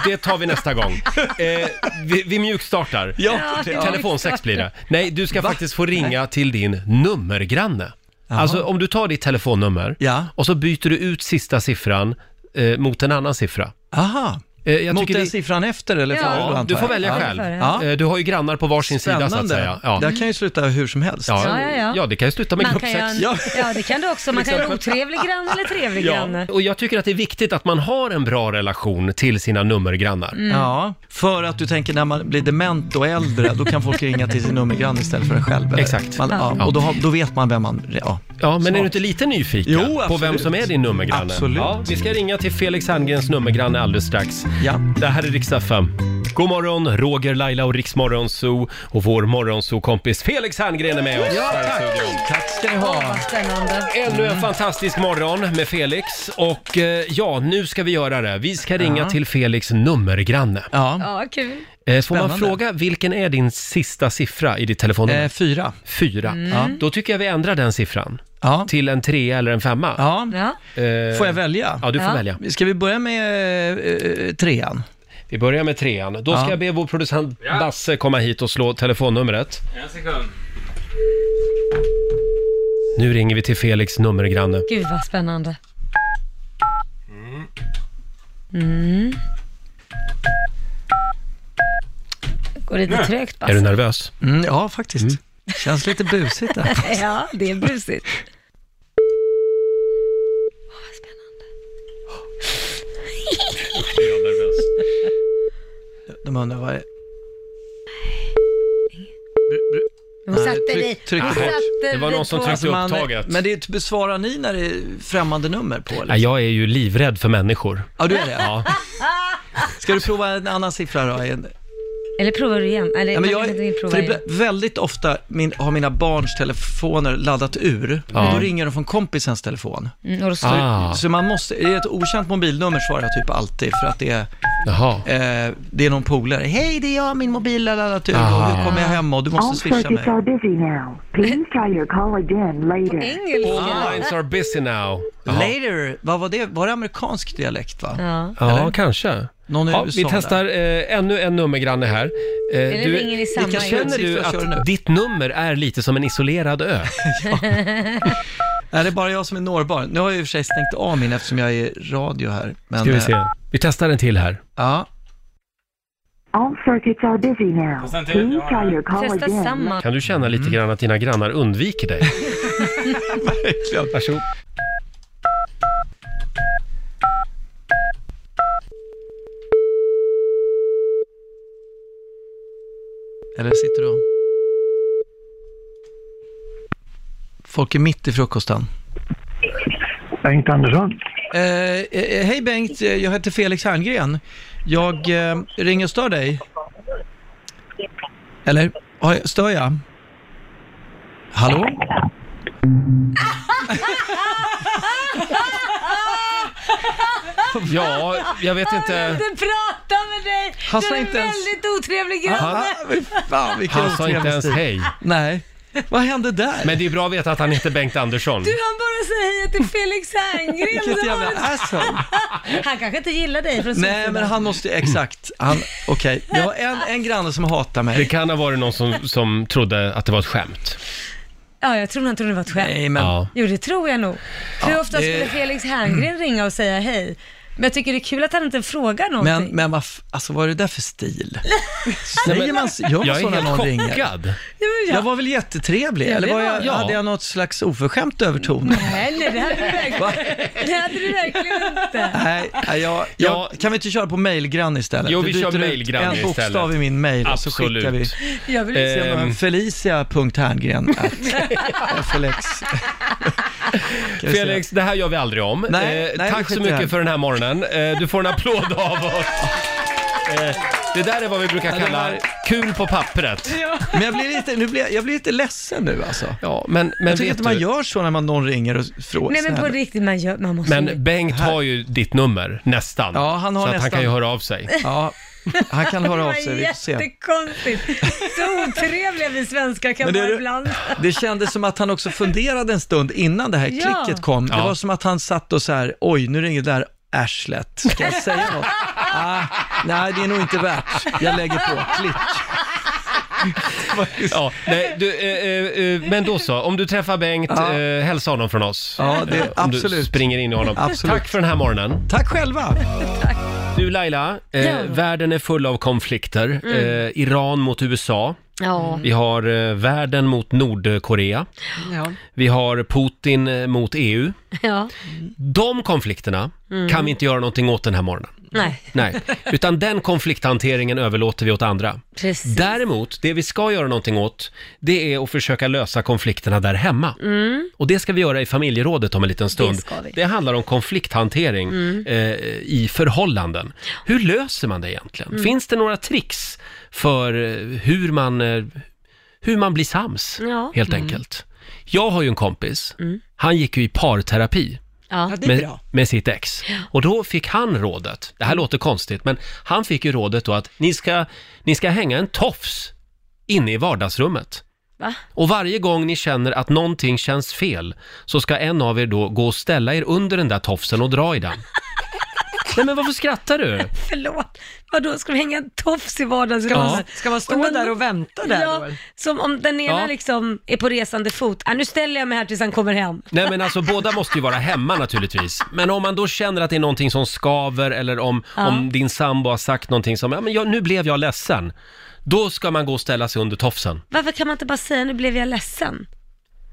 det tar vi nästa gång. Eh, vi, vi mjukstartar.
Ja,
Ja,
ja.
Telefon 6 blir det. Nej, du ska faktiskt få ringa till din nummergranne. Alltså om du tar ditt telefonnummer
Ja.
och så byter du ut sista siffran eh, mot en annan siffra.
Aha.
Eh, jag
Mot
tycker
den
vi-
siffran efter eller
Ja,
före,
Ja,
antar
du får
jag.
välja
Ja.
själv.
Ja.
Eh, Du har ju grannar på varsin sida så att
Spännande.
säga. Ja.
Det här kan ju sluta hur som helst.
Ja,
Ja, ja, ja.
ja, det kan ju sluta med
Man
grupp
kan
6.
ju ha en, ja.
Ja. Liksom.
det kan du också. Man kan ju ha en otrevlig granne eller trevlig granne.
Och jag tycker att det är viktigt att man har en bra relation till sina nummergrannar.
Mm.
Ja, för att du tänker när man blir dement och äldre, då kan folk ringa till sin nummergranne istället för en själv. eller?
Exakt.
Man, ja, och då, har, då vet man vem man... Ja.
Ja, men är du inte lite nyfiken
Jo,
på
absolut.
vem som är din nummergranne?
Absolut.
Ja, vi ska ringa till Felix Herngrens nummergranne alldeles strax.
Ja.
Det här är riksdag 5. God morgon, Roger, Laila och Riksmorgonzoo och vår morgonzoo-kompis Felix Herngren är med oss. här i studion.
Tack ska ni ha.
Vad spännande.
Ännu en fantastisk morgon med Felix och eh, ja, nu ska vi göra det. Vi ska ringa till Felix nummergranne.
Ja.
Ja, kul.
Eh, får man
Spännande.
fråga, vilken är din sista siffra i ditt telefonnummer?
Eh, fyra.
fyra. Då tycker jag vi ändrar den siffran
Ja.
till en trea eller en femma.
ja.
Ja.
Eh,
Får jag välja?
Ja, du får
Ja.
välja.
Ska vi börja med eh, trean?
Vi börjar med trean. Då ska
Ja.
jag be vår producent
Ja.
Basse komma hit och slå telefonnumret.
En sekund.
Nu ringer vi till Felix nummergranne.
Gud vad spännande. Mm. Går lite trögt
Är du
Basse.
nervös?
Mm, ja, faktiskt. Känns lite busigt där.
Ja, det är busigt. Åh, vad spännande.
De undrar vad det är.
Nu satte
tryck-
vi,
tryck
nu
bort.
satte
Det var
vi
någon som
på-
tryckte- Så upptaget.
men det är- besvarar ni när det är främmande nummer på? Eller?
Nej, jag är ju livrädd för människor.
Ja, du är det?
Ja.
Ska du prova en annan siffra då? En-
Eller provar du igen? Eller,
Ja, men
man
jag,
kan inte prova
för det
igen.
blir väldigt ofta min, har mina barns telefoner laddat ur,
Ja.
och då ringer de från kompisens telefon.
Mm, och då står
Ah,
Så man måste, är det ett okänt mobilnummer svarar jag typ alltid för att det är,
jaha.
eh, det är någon polare. Hej, det är jag, min mobil har laddat ur typ. och
Ah.
nu kommer jag hem och du måste swisha mig.
busy now. Please try your call again later.
engelska.
Oh
All lines are busy now. Jaha.
Later, vad var det? Var det amerikansk dialekt va?
Ja.
Ja, kanske.
Någon i
Ja,
USA
vi testar eh, ännu en nummergranne här. Eh, du,
ringer i samma
Vilka- känner du
Vilken siffra kör du
att
nu?
ditt nummer är lite som en isolerad ö?
Är det bara jag som är nårbar? Nu har jag i och för sig stängt av min eftersom jag är i radio här. Men,
Ska vi
eh,
se. Vi testar en till här.
Ja,
All circuits are busy now. Please try your call
Testa
again.
samma.
Kan du känna
Mm.
lite grann att dina grannar undviker dig?
verkligen.
Varsågod.
Eller sitter du och- Folk är mitt i frukosten.
Bengt Andersson.
Eh, eh, hej Bengt, eh, jag heter Felix Herngren. Jag eh, ringer och stör dig. Eller, har jag- stör jag? Hallå?
Ja, jag vet
Jag
inte.
vill inte prata med dig!
Han
du
sa
är en
inte ens-
väldigt otrevlig
Ah,
granne.
fy fan, vilken
Han sa inte
otrevlig
ens
stil.
hej.
Nej. Vad hände där?
Men det är bra att veta att han heter Bengt Andersson.
Du han bara säger hej till Felix Herngren.
Vilket
Så har
jävla
du-
asshole.
Han kanske inte gillar dig från sin
Nej,
sida.
men han måste ju, exakt. Han, okej. Jag har en, en granne som hatar
Det
mig.
kan ha varit någon som, som trodde att det var ett skämt.
Ja, jag tror han trodde det var ett skämt.
Nej, men.
Ja.
Jo, det tror jag nog. Hur ofta
det- Mm.
skulle Felix Herngren ringa och säga hej? Men jag tycker det är kul att han inte frågar någonting.
Men, men vad, f- alltså vad är det där för stil? Säger man, s- gör man
Jag
så
är
när någon
helt
ringer?
chockad.
Ja, men
Jag
jag...
var väl jättetrevlig,
Ja,
eller
det
var
var- Mm.
jag,
ja.
hade jag något slags oförskämt överton?
Nej, nej, det hade du
Va?
verkligen, det hade du verkligen inte.
Nej, nej, jag,
Ja.
jag, kan vi inte köra på mailgrann istället?
Jo, vi kör
byter ut
mailgrann
En bokstav
istället.
i min mail och så
Absolut.
skickar vi.
Jag vill
Eh,
Ser man Felicia.herngren at FLX. Kan vi se.
Felix, det här gör vi aldrig om.
Nej,
eh,
nej,
tack så
skit i
mycket
det här.
för den här morgonen. Eh, du får en applåd av oss. Eh, det där är vad vi brukar
Ja, det
kalla
var-
kul på pappret.
Men jag blir lite, nu blir jag, jag blir lite ledsen nu alltså.
Ja, men, men
Jag tycker
vet
inte man
du,
gör så när man någon ringer och frågar.
Nej,
så
men
här.
på riktigt, man, gör, man måste ju-
men Bengt har ju ditt nummer, nästan.
Ja, han har
så att han
nästan.
kan ju höra av sig.
Ja, han kan höra av sig, vi får
Det var
se.
jättekonstigt. Så otrevliga vi svenskar kan
Men det är
vara
du-
ibland.
Det kändes som att han också funderade en stund innan det här
Ja.
klicket kom. Det
Ja.
var som att han satt och så här, oj, nu ringer det där arslet. Ska jag säga något? Ah, nej, det är nog inte värt. Jag lägger på. Klick.
Ja, nej, du, eh, eh, eh, men då så, om du träffar Bengt,
Ja.
eh, hälsa honom från oss.
Ja, det-
Eh, om du
absolut.
springer in i honom.
Absolut.
Tack för den här morgonen.
Tack själva!
Du Laila, eh,
Ja.
världen är full av konflikter.
Mm.
Eh, Iran mot USA.
Ja.
Vi har eh, världen mot Nordkorea.
Ja.
Vi har Putin eh, mot EU.
ja.
De konflikterna kan vi inte göra någonting åt den här morgonen.
Nej,
Nej, utan den konflikthanteringen överlåter vi åt andra.
precis.
Däremot, det vi ska göra någonting åt, det är att försöka lösa konflikterna där hemma. Och det ska vi göra i familjerådet om en liten stund.
Mm. ska vi. Mm.
Det handlar om konflikthantering eh, i förhållanden. Hur löser man det egentligen?
Mm.
Finns det några tricks för eh, hur man, eh, hur man blir sams,
Ja. Mm.
helt enkelt? Jag har ju en kompis, han gick ju i parterapi
Ja.
ja, det är
med,
bra. Mm.
med sitt ex. Och då fick han rådet, det här låter konstigt, men han fick ju rådet då att ni ska, ni ska hänga en tofs inne i vardagsrummet.
Va?
Och varje gång ni känner att någonting känns fel så ska en av er då gå och ställa er under den där tofsen och dra i den. Nej men varför skrattar du?
Förlåt. Vadå, ska vi hänga en tofs i vardagsrummet?
Ska man
Om
stå
man-
där och vänta där
Ja,
då?
som om den ena
Ja.
liksom är på resande fot. Ah, nu ställer jag mig här tills han kommer hem.
Nej men alltså båda måste ju vara hemma naturligtvis. Men om man då känner att det är någonting som skaver eller om,
Ja.
om din sambo har sagt någonting som, ja men jag, nu blev jag ledsen. Då ska man gå och ställa sig under tofsen.
Varför kan man inte bara säga nu blev jag ledsen?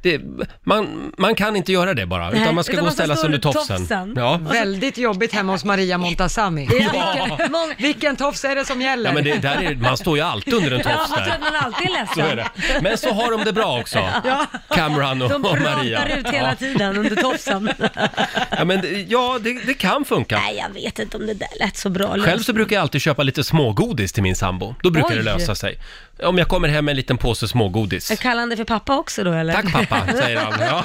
det, man, man kan inte göra det bara,
Nej,
utan man ska
utan
gå
man
och
ska
ställa
stå
sig under
under
tofsen.
tofsen.
Ja.
Väldigt jobbigt hemma hos Maria Montazami.
Vilken- Många,
Vilken tofs är det som gäller?
ja, men det, där är, man står ju alltid under en
ja,
tofs
man tror att
där.
man alltid är
Så är
ledsen.
det. Men så har de det bra också, Cameron och,
De
och
pratar
Maria.
ut hela tiden under tofsen.
ja. ja, men det- ja det, det kan funka.
Nej, jag vet inte om det där lät så bra.
Själv så brukar jag alltid köpa lite smågodis till min sambo. Då brukar det
Oj.
lösa sig. Om jag kommer hem med en liten påse smågodis.
Jag kallar han dig för pappa också då eller?
Tack pappa, säger han. Ja.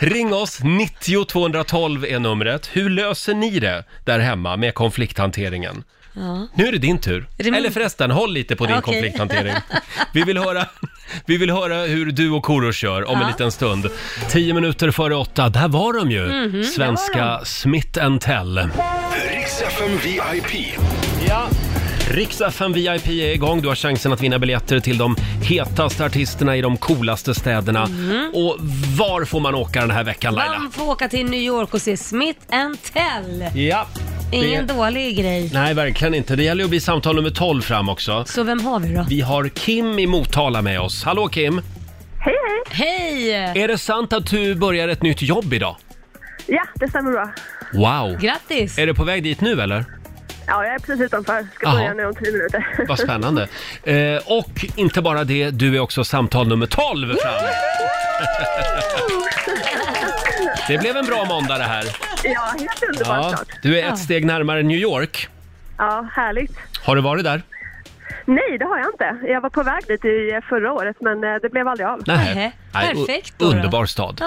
Ring oss, 90 212 är numret. Hur löser ni det där hemma med konflikthanteringen?
Ja.
Nu är det din tur.
Är det min-
Eller förresten, håll lite på din
Okej.
konflikthantering. Vi vill, höra, vi vill höra hur du och Korosh kör om en
Ja.
liten stund. Tio minuter före åtta, där var de ju!
Mhm,
Svenska Smith and Tell.
Riks FM VIP.
Riks-FM VIP är igång. Du har chansen att vinna biljetter till de hetaste artisterna i de coolaste städerna. Och var får man åka den här veckan Laila?
Man får åka till New York och se Smith and Tell.
Ja,
Ingen
det...
dålig grej.
Nej, verkligen inte. Det gäller ju att bli samtal nummer 12 fram också.
Så vem har vi då?
Vi har Kim i Motala med oss. Hallå Kim!
Hej, hej.
Hej!
Är det sant att du börjar ett nytt jobb idag?
Ja, det stämmer bra.
Wow!
Grattis!
Är du på väg dit nu eller?
Ja, jag är precis utanför. Ska
Jaha.
börja nu om tio minuter.
Vad spännande. Eh, och inte bara det, du är också samtal nummer 12 fram. Det blev en bra måndag det här.
Ja, helt underbart
Ja,
klart.
du är ett steg närmare New York.
Ja, härligt.
Har du varit där?
Nej, det har jag inte. Jag var på väg dit i förra året, men eh, det blev aldrig av.
Nähä. Nej, u- Underbar stad.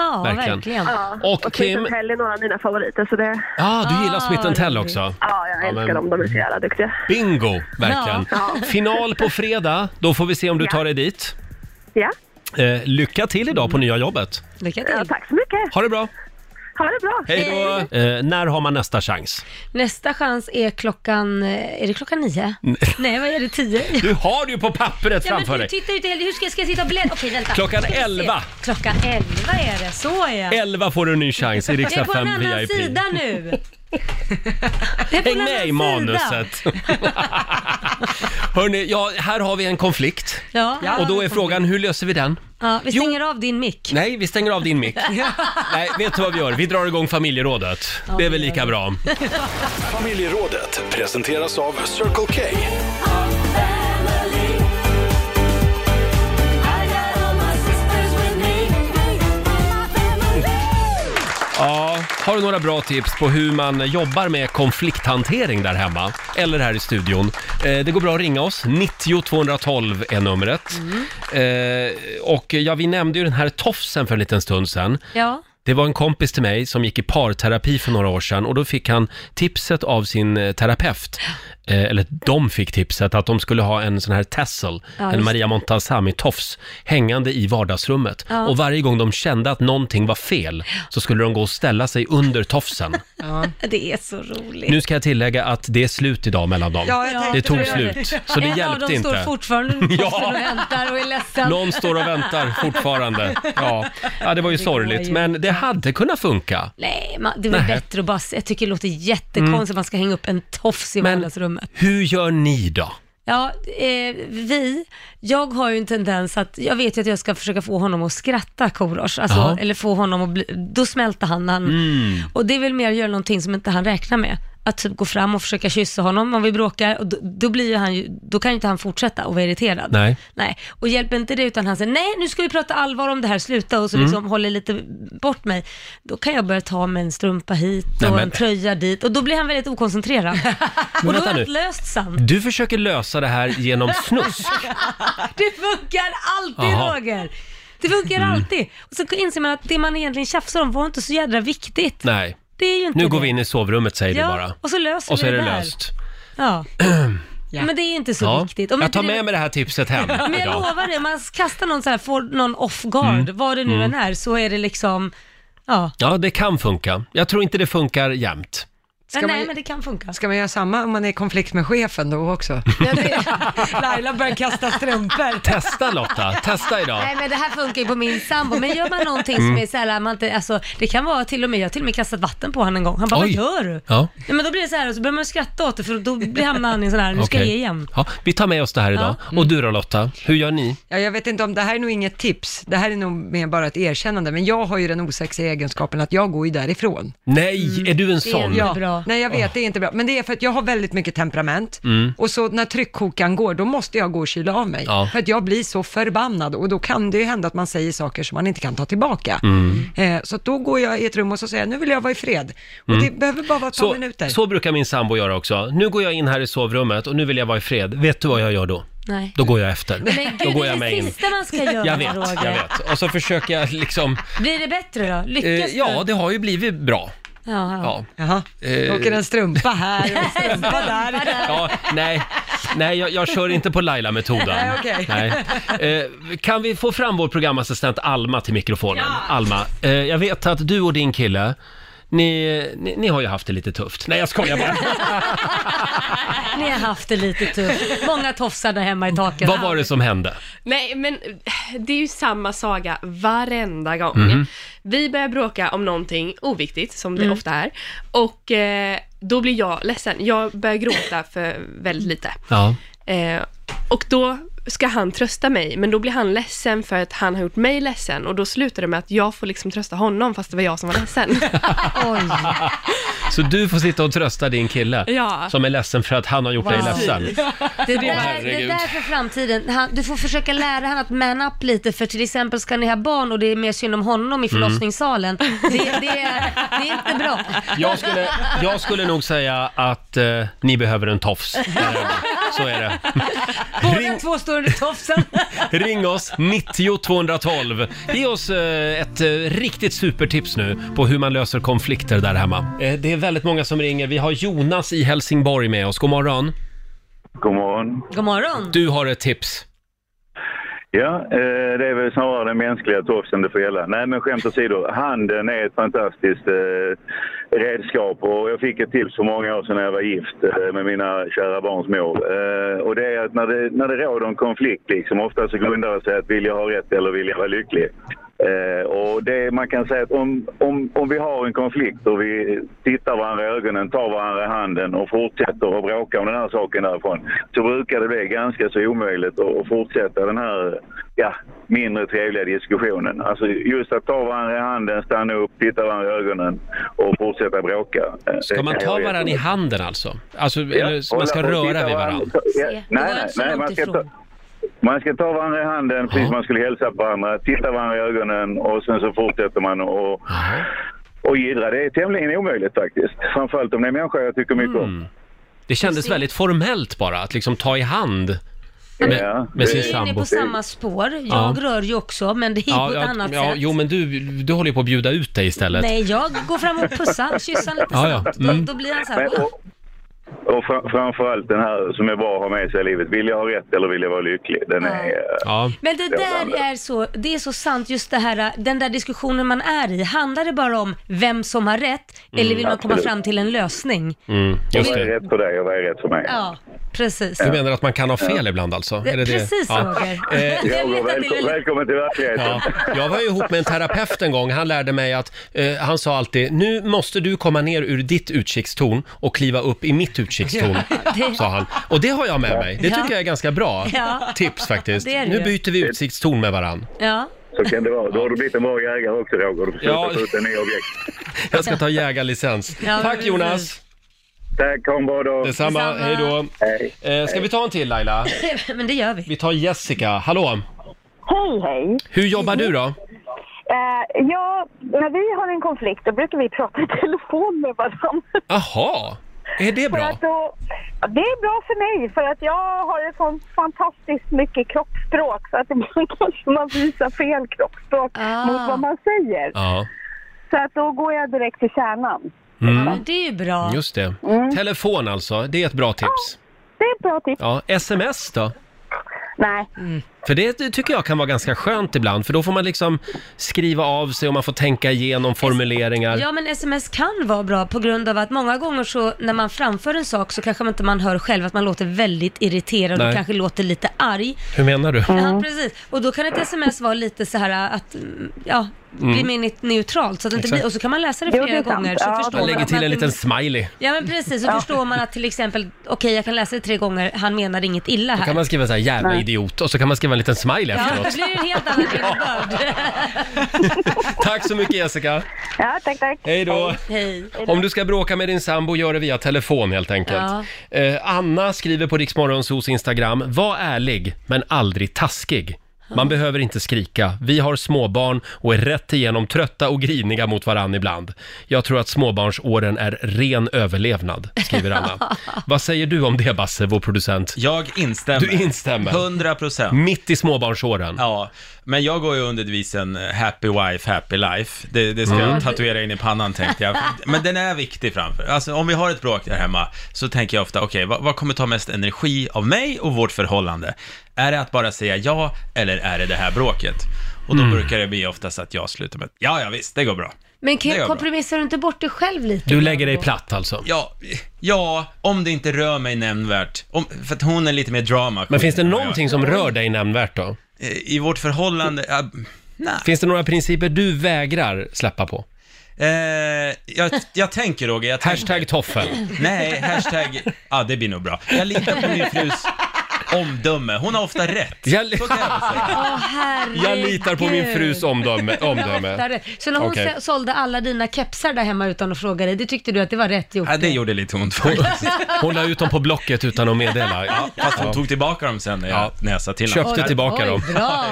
Ja,
Och
och,
Kim-
Smith Tell är några av mina favoriter, så det...
Ja, ah, du gillar Smith Tell också.
Ja, jag älskar
men-
dem. De är så jävla duktiga. Mm.
Bingo, verkligen.
Ja.
Final på fredag, då får vi se om du
Ja.
tar dig dit.
Ja,
Eh, lycka till idag på nya jobbet.
Lycka till.
tack så mycket.
Ha det bra!
Ha det bra.
Hej då! Eh, när har man nästa chans?
Nästa chans är klockan, eh, är det klockan nio? Nej, vad är det, tio?
Du har det ju på pappret
Ja,
framför
men du
dig!
tittar ju inte heller. Hur ska jag, ska jag sitta och bläddra? Okej, vänta.
Klockan
Ska vi se.
11.
Klockan 11 är det, så är jag.
11 får du en ny chans i
Det
Rix
är på typ- en
FM
annan
VIP.
sida nu. Det är på
Häng
en annan
med i
sida.
manuset! Hörni, ja, här har vi en konflikt.
Ja, här
Och
har
då
vi
är frågan, hur löser vi den?
Ja, vi stänger av din mick.
Nej, vi stänger av din mick. Nej, vet du vad vi gör? Vi drar igång familjerådet. Det är väl lika bra.
Familjerådet presenteras av Circle K.
Ja, har du några bra tips på hur man jobbar med konflikthantering där hemma? Eller här i studion? Eh, det går bra att ringa oss. 90 212 är numret. Eh, och ja, vi nämnde ju den här tofsen för en liten stund sedan.
Ja.
Det var en kompis till mig som gick i parterapi för några år sedan och då fick han tipset av sin eh, terapeut, eh, eller de fick tipset att de skulle ha en sån här tassel,
Ja,
en
just
Maria Montazami-tofs, hängande i vardagsrummet.
Ja.
Och varje gång de kände att någonting var fel så skulle de gå och ställa sig under tofsen.
Det är så roligt.
Nu ska jag tillägga att det är slut idag mellan dem.
Ja, jag tänkte
det
på
tog
det.
slut, så det
en av
hjälpte
dem står
inte.
fortfarande under
Ja.
ja. och väntar och är ledsen.
Någon står och väntar fortfarande. Ja, ja det var ju
Det går
sorgligt,
ju
men det hade kunnat funka.
Nej, man, det är väl
Nej.
bättre att bara... Jag tycker det låter jättekonstigt
Mm.
att man ska hänga upp en tofs i vardagsrummet.
Hur gör ni då?
Ja, eh, vi, jag har ju en tendens att, jag vet ju att jag ska försöka få honom att skratta Korosh, alltså,
Ja.
eller få honom att bli, då smälter han när han,
Mm.
och det är väl mer att göra någonting som inte han räknar med. Att typ gå fram och försöka kyssa honom om vi bråkar, och då, då blir ju han ju, då kan ju inte han fortsätta och vara irriterad.
Nej.
Nej, och hjälper inte det utan han säger nej nu ska vi prata allvar om det här, sluta och så
Mm.
liksom håller lite bort mig. Då kan jag börja ta med en strumpa hit och
Nej, men-
en tröja dit och då blir han väldigt okoncentrerad. och då
vänta
är
nu.
allt löst sen.
Du försöker lösa det här genom snusk.
Det funkar alltid
Jaha.
Roger! Det funkar
Mm.
alltid. Och så inser man att det man egentligen tjafsar om var inte så jädra viktigt.
Nej,
Det är ju inte
nu går
det.
vi in i sovrummet säger
Ja,
du bara.
och så löser
Och så
vi
är
det
det
där.
löst.
Ja. Men det är inte så
Ja.
viktigt.
Jag
inte
tar
det-
med mig det här tipset hem
Men jag
idag.
lovar det, man kastar någon så här, får någon off guard,
Mm.
vad det nu
Mm.
än är, så är det liksom, ja.
Ja, det kan funka. Jag tror inte det funkar jämt.
men nej,
man-
men det kan funka.
Ska man göra samma om man är i konflikt med chefen då också?
Laila börjar kasta strumpor.
Testa Lotta, testa idag.
Nej men det här funkar ju på min sambo, men gör man någonting som
Mm.
är så här, man inte, alltså, det kan vara till och med, jag har till och med kastat vatten på honom en gång. Han bara,
Oj.
vad gör du?
Ja,
Nej men då blir det så här och så börjar man skratta åt det för då blir- hamnar han i en sån här, nu ska jag
okej.
ge mm. igen.
Ja, vi tar med oss det här idag. Och du då Lotta, hur gör ni?
Ja, jag vet inte om det här är nog inget tips, det här är nog mer bara ett erkännande, men jag har ju den osexiga egenskapen att jag går ju därifrån.
Mm,
Nej, är du en sån?
bra. Nej, jag vet, det är inte bra. Men det är för att jag har väldigt mycket temperament.
Mm.
Och så när tryckkokaren går, då måste jag gå och kyla av mig.
Ja.
För att jag blir så förbannad och då kan det ju hända att man säger saker som man inte kan ta tillbaka.
Mm.
Eh, så att då går jag i ett rum och så säger jag, nu vill jag vara i fred. Och
Mm.
det behöver bara vara ett par
Så,
minuter.
så brukar min sambo göra också. Nu går jag in här i sovrummet och nu vill jag vara i fred. Vet du vad jag gör då?
Nej.
Då går jag efter.
Men gud,
då går
det är
jag med
det
in.
sista man ska göra
Jag vet,
Roger.
jag vet. Och så försöker jag liksom...
Blir det bättre då? Lyckas
Eh,
du?
ja, det har ju blivit bra.
ja, ja.
Ja.
Jaha,
Eh,
åker en strumpa här och en strumpa där.
Ja, nej, nej jag, jag kör inte på Laila-metoden.
Nej, okej.
Nej. Eh, kan vi få fram vår programassistent Alma till mikrofonen? Alma, eh, jag vet att du och din kille, ni, ni, ni har ju haft det lite tufft. Nej, jag skojar bara.
Ni har haft det lite tufft. Många tofsar där hemma i taket.
Vad var det som hände?
Nej, men eh, det är ju samma saga varenda gång.
Mhm.
Vi börjar bråka om någonting oviktigt, som det
Mm.
ofta är, och eh, då blir jag ledsen. Jag börjar gråta för väldigt lite.
Ja.
Eh, och då ska han trösta mig, men då blir han ledsen för att han har gjort mig ledsen och då slutar det med att jag får liksom trösta honom fast det var jag som var ledsen.
Så du får sitta och trösta din kille
Ja.
som är ledsen för att han har gjort dig ledsen.
Det där, det
herregud.
där för framtiden. Han, du får försöka lära han att man up lite för till exempel ska ni ha barn och det är mer synd om honom
Mm.
i förlossningssalen. Det, det, är- det är inte bra.
Jag skulle, jag skulle nog säga att eh, ni behöver en tofs. Så är det.
Båda två står under tofsen.
Ring oss, 90 212. Ge oss eh, ett eh, riktigt supertips nu på hur man löser konflikter där hemma. Eh, det är väldigt många som ringer. Vi har Jonas i Helsingborg med oss. God morgon.
God morgon.
God morgon.
Du har ett tips.
Ja, eh, det är väl snarare den mänskliga tofsen det får gälla. Nej, men skämt åsido. Handen är ett fantastiskt eh, redskap och jag fick ett tips för många år sedan när jag var gift eh, med mina kära barns mor. Eh, och det är att när det, när det råder en konflikt, liksom, ofta så grundar det sig att vill jag ha rätt eller vill jag vara lycklig? Eh, och det man kan säga att om, om, om vi har en konflikt och vi tittar varandra i ögonen, tar varandra i handen och fortsätter att bråka om den här saken därifrån så brukar det bli ganska så omöjligt att att fortsätta den här ja, mindre trevliga diskussionen. Alltså just att ta varandra i handen, stanna upp, titta varandra i ögonen och fortsätta bråka. Eh, det
Ska man
kan jag
ta
ge
varandra i
som-
handen alltså? Alltså, eller
och-
man ska
och titta
röra vid varandra?
Ja,
Det var
Nej,
inte
nej,
så
nej
långt
man, ska ta,
ifrån.
man ska ta varandra i handen precis som man skulle hälsa på varandra, titta varandra i ögonen och sen så fortsätter man och, och jiddra. Det är tämligen omöjligt faktiskt. Framförallt om det är människor jag tycker mycket om.
Mm. Det kändes väldigt formellt bara, att liksom ta i hand med, med sin
Vi är inne
sambo.
på samma spår. Jag
Ja.
rör ju också, men det är på ett annat
ja,
sätt.
jo men du, du håller ju på att bjuda ut dig istället.
Nej, jag går fram och pussar, kyssar lite
Ja, ja.
snabbt.
Mm.
Då blir han så här,
Men- och- Och fra, framförallt den här som är bra att ha med sig i livet. Vill jag ha rätt eller vill jag vara lycklig? Den är... eh,
Men det där är så, det är så sant just det här, den där diskussionen man är i. Handlar det bara om vem som har rätt eller
Mm,
vill man komma
absolut.
fram till en lösning?
Mm, just
Vad är
det.
rätt för dig och vad är rätt för mig?
Ja, precis.
Du menar att man kan ha fel ibland alltså?
Det-
Är det det?
precis så, Roger.
Eh,
Jag vet att det är väldigt-
Välkommen till verkligheten.
Ja, jag var ju ihop med en terapeut en gång. Han lärde mig att, eh, han sa alltid, nu måste du komma ner ur ditt utkikstorn och kliva upp i mitt utkikstorn,
det-
sa han. Och det har jag med mig. Det
Ja.
tycker jag är ganska bra
Ja.
tips faktiskt.
Det är det
Nu
ju.
byter vi utsiktstorn med varann.
Ja.
Så kan det vara. Då har du blivit en bra jägare också Roger. Du får
Ja.
sluta ta ut en ny objekt.
Jag ska ta jägarlicens.
Ja,
Tack
precis.
Jonas!
Tack, ha en bra dag!
Detsamma,
Detsamma.
hej då! Eh, ska vi ta en till Laila?
Men det gör vi.
Vi tar Jessica, hallå!
Hej, hej.
Hur jobbar du då?
Eh, ja, när vi har en konflikt då brukar vi prata i telefon med varandra.
Jaha, är det
För
bra?
att då, ja, det är bra för mig, för att jag har ett sånt fantastiskt mycket kroppsspråk så att ibland kanske man visar fel kroppsspråk mot vad man säger.
Ja,
Så att då går jag direkt till kärnan.
mm.
Det är ju bra.
just det.
Mm.
Telefon alltså, det är ett bra tips.
Det är ett bra tips.
Ja, sms då?
Nej.
För det, det tycker jag kan vara ganska skönt ibland, för då får man liksom skriva av sig och man får tänka igenom formuleringar.
Ja men sms kan vara bra på grund av att många gånger så när man framför en sak så kanske man inte man hör själv att man låter väldigt irriterad
Nej.
och kanske låter lite arg.
Hur menar du?
Mm.
Ja precis. Och då kan ett sms vara lite så här att, mm, ja, bli
Mm.
mer ne- neutralt så att det inte
Exakt.
blir, och så kan man läsa det
Jo, det
flera
är sant.
gånger så
Ja,
förstår
Man
man
lägger
att
till
man
en liten
inte-
smiley.
Ja men precis, så
Ja.
förstår man att till exempel, okej jag kan läsa det tre gånger, han menar inget illa
Då
här.
kan man skriva så här jävla
Nej.
idiot och så kan man skriva en liten smiley
Ja, det
efteråt.
blir en helt annan innebörd.
Tack så mycket Jessica.
Ja, tack, tack.
Hej då.
Hej.
Om du ska bråka med din sambo, gör det via telefon helt enkelt. Eh, Anna skriver på Riksmorgonsos Instagram, var ärlig men aldrig taskig. Man behöver inte skrika. Vi har småbarn och är rätt igenom trötta och griniga mot varann ibland. Jag tror att småbarnsåren är ren överlevnad, skriver Anna. Vad säger du om det, Basse, vår producent?
Jag instämmer.
Du instämmer? Mm.
100 procent.
Mitt i småbarnsåren.
Ja, men jag går ju under devisen eh, happy wife, happy life. Det, det ska
Mm.
jag tatuera in i pannan tänkte jag. Men den är viktig framför. Alltså om vi har ett bråk där hemma så tänker jag ofta, okej, vad, vad kommer ta mest energi av mig och vårt förhållande? Är det att bara säga ja eller är det det här bråket? Och då
Mm.
brukar det bli oftast att jag slutar med, ja, ja visst, det går bra.
Men
Det
kan,
gör bra.
kompromissar du inte bort dig själv lite?
Du lägger dig platt alltså?
Ja, ja om det inte rör mig nämnvärt. Om, för att hon är lite mer drama.
Men finns det någonting som rör dig nämnvärt då?
Eh, I vårt förhållande, ja,
Finns det några principer du vägrar släppa på?
Eh, jag, jag tänker Roger, jag tänker.
Hashtag toffel.
Nej, hashtag, ja ah, det blir nog bra. Jag litar på min frus, Omdöme. Hon har ofta rätt. Så kan jag säga.
Åh, herregud.
Jag litar på min frus omdöme. omdöme.
Rättare. Så när hon
Okej.
okay. sålde alla dina kepsar där hemma utan att fråga dig, det tyckte du att det var rätt gjort?
Ja, det gjorde lite ont faktiskt.
Hon la ut dem på Blocket utan att meddela.
Ja, fast hon tog tillbaka dem sen när jag, när jag sa till henne.
Köpte tillbaka dem.
Bra!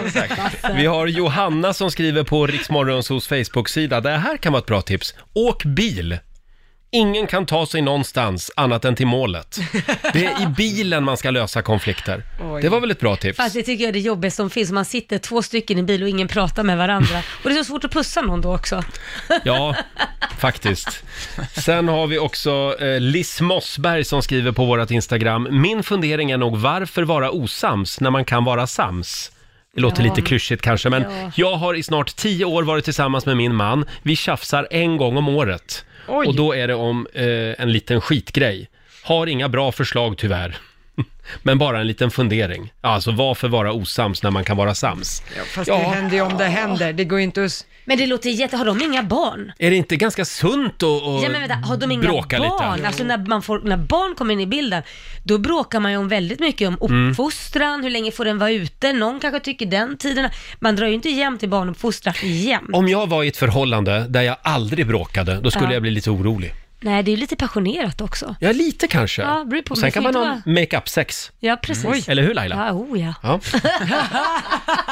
Vi har Johanna som skriver på Riksmorgonsos Facebook-sida. Det här kan vara ett bra tips. Åk bil! Ingen kan ta sig någonstans annat än till målet. Det är i bilen man ska lösa konflikter.
Oj.
Det var väl ett bra tips?
Fast det tycker jag är det jobbigaste som finns, man sitter två stycken i bil och ingen pratar med varandra. Och det är så svårt att pussa någon då också.
Ja, faktiskt. Sen har vi också eh, Liss Mossberg som skriver på vårt Instagram. Min fundering är nog varför vara osams när man kan vara sams? Det låter
Ja.
lite klyschigt kanske, men
Ja.
jag har i snart tio år varit tillsammans med min man. Vi tjafsar en gång om året.
Oj.
Och då är det om eh, en liten skitgrej. Har inga bra förslag tyvärr. Men bara en liten fundering. Alltså varför vara osams när man kan vara sams?
Fast
Ja.
det händer ju om det händer. Det går ju inte att...
Men det låter jätte... Har de inga barn?
Är det inte ganska sunt att att
Ja men vänta, har de inga
bråka
barn?
lite?
Alltså när, man får, när barn kommer in i bilden, då bråkar man ju om väldigt mycket om
Mm.
uppfostran, hur länge får den vara ute, någon kanske tycker den tiden. Man drar ju inte jämnt till barnuppfostran, jämt.
Om jag var i ett förhållande där jag aldrig bråkade, då skulle
Ja.
jag bli lite orolig.
Nej, det är ju lite passionerat också.
Ja, lite kanske.
Ja, det beror på,
Och
men
Sen
det
kan
får
man
inte
ha make-up-sex.
Ja, precis.
Oj. Eller hur, Laila?
Ja, oh, ja.
Ja.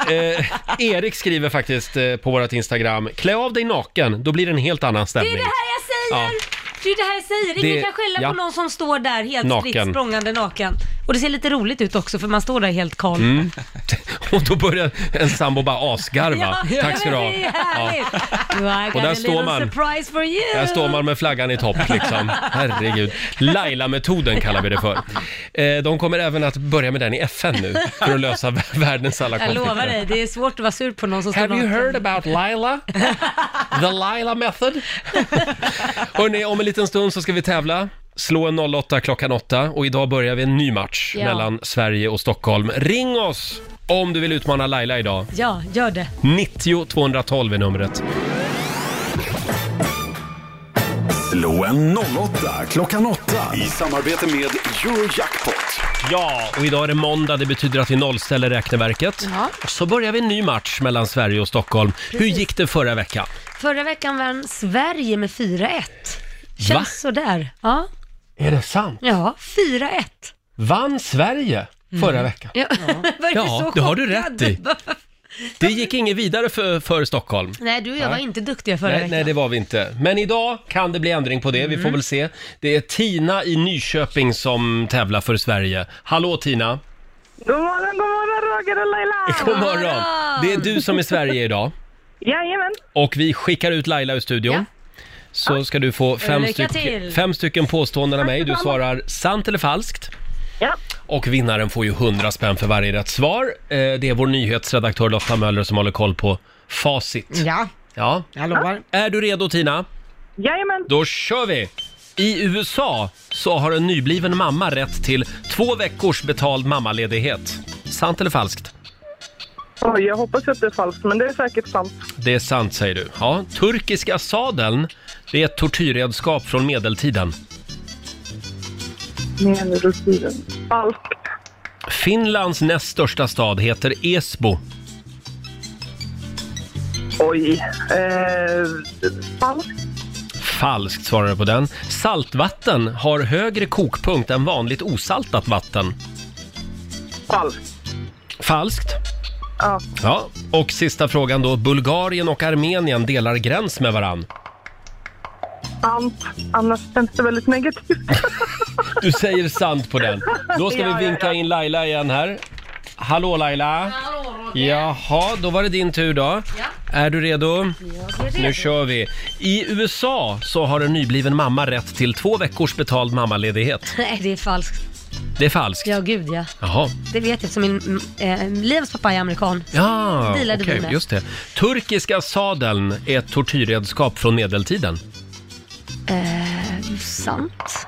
eh, Erik skriver faktiskt eh, på vårt Instagram, klä av dig naken, då blir det en helt annan
Det är
stämning.
det här jag säger! Det är det här jag säger. Ingen
Det-
kan skälla
ja.
på någon som står där helt fritt
Naken.
språngande naken. Och det ser lite roligt ut också för man står där helt kal.
Mm. Och då börjar en sambo bara asgarva.
Ja,
Tack ska du
men
ha.
Det är härligt. Du, I got
där
a
står
little
man.
surprise for you.
Där står man med flaggan i topp liksom. Herregud. Laila-metoden kallar vi det för. Eh, de kommer även att börja med den i FN nu för att lösa världens alla
Jag
konflikter.
lovar dig, det är svårt att vara sur på någon som står
Have you
naken.
heard about Laila? The Laila method? Hörrni, om en liten stund så ska vi tävla. Slå en 08 klockan 8 och idag börjar vi en ny match
Ja.
mellan Sverige och Stockholm. Ring oss om du vill utmana Laila idag.
Ja, gör det.
90 212 är numret.
Slå en 08 klockan 8 i samarbete med Eurojackpot.
Ja, och idag är det måndag. Det betyder att vi nollställer räkneverket. Och så börjar vi en ny match mellan Sverige och Stockholm. Hur
Precis.
gick det förra veckan?
Förra veckan vann Sverige med 4-1. Känns
Va?
sådär. Ja,
Är det sant?
ja 4-1.
Vann Sverige förra veckan?
Ja, var du
Ja,
så
det har du
chockad?
rätt i. Det gick inget vidare för, för Stockholm.
Nej, du och jag var inte duktiga förra
nej,
veckan.
nej, det var vi inte. Men idag kan det bli ändring på det. Vi får väl se. Det är Tina i Nyköping som tävlar för Sverige. Hallå Tina!
God morgon, god morgon Roger och Laila!
God morgon! Det är du som är Sverige idag.
Jajamän!
Och vi skickar ut Laila ur studion. Så ska du få fem,
Lycka
styck-
till.
fem stycken påståenden av mig. Du
detsamma.
svarar sant eller falskt.
Ja.
Och vinnaren får ju 100 spänn för varje rätt svar. Eh, Det är vår nyhetsredaktör Lotta Möller som håller koll på facit.
Ja.
Ja.
Jag lovar.
Är du redo Tina?
Jajamän!
Då kör vi! I USA så har en nybliven mamma rätt till två veckors betald mammaledighet. Sant eller falskt?
Oj, jag hoppas att det är falskt, men det är säkert sant.
Det är sant säger du. Ja, turkiska sadeln, det är ett tortyrredskap från medeltiden.
Medeltiden. Falskt.
Finlands näst största stad heter Esbo.
Oj. Eh, falskt.
Falskt svarar du på den. Saltvatten har högre kokpunkt än vanligt osaltat vatten.
Falskt.
Falskt.
Ja.
Ja, och sista frågan då. Bulgarien och Armenien delar gräns med varann.
Sant. Annars känns det väldigt negativt.
Du säger sant på den. Då ska
Ja, ja,
vi vinka in Laila igen här. Hallå Laila! Jaha, då var det din tur då. Är du redo?
Jag är redo.
Nu kör vi. I USA så har en nybliven mamma rätt till två veckors betald mammaledighet.
Nej, det är falskt.
Det är falskt.
Ja, gud ja.
Jaha.
Det vet jag eftersom min mm, eh, Liams pappa är amerikan.
Ja,
Det gillade
okej,
vi med.
just det. Turkiska sadeln är ett tortyrredskap från medeltiden.
Eh, sant.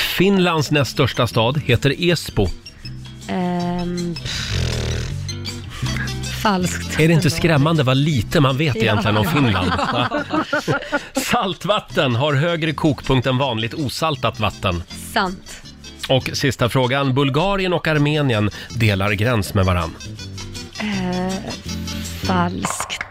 Finlands näst största stad heter Esbo.
Ehm, pff. falskt.
Är det inte skrämmande vad lite man vet egentligen om Finland?
Ja.
va? Saltvatten har högre kokpunkt än vanligt osaltat vatten.
Sant.
Och sista frågan. Bulgarien och Armenien delar gräns med varann.
Eh, falskt.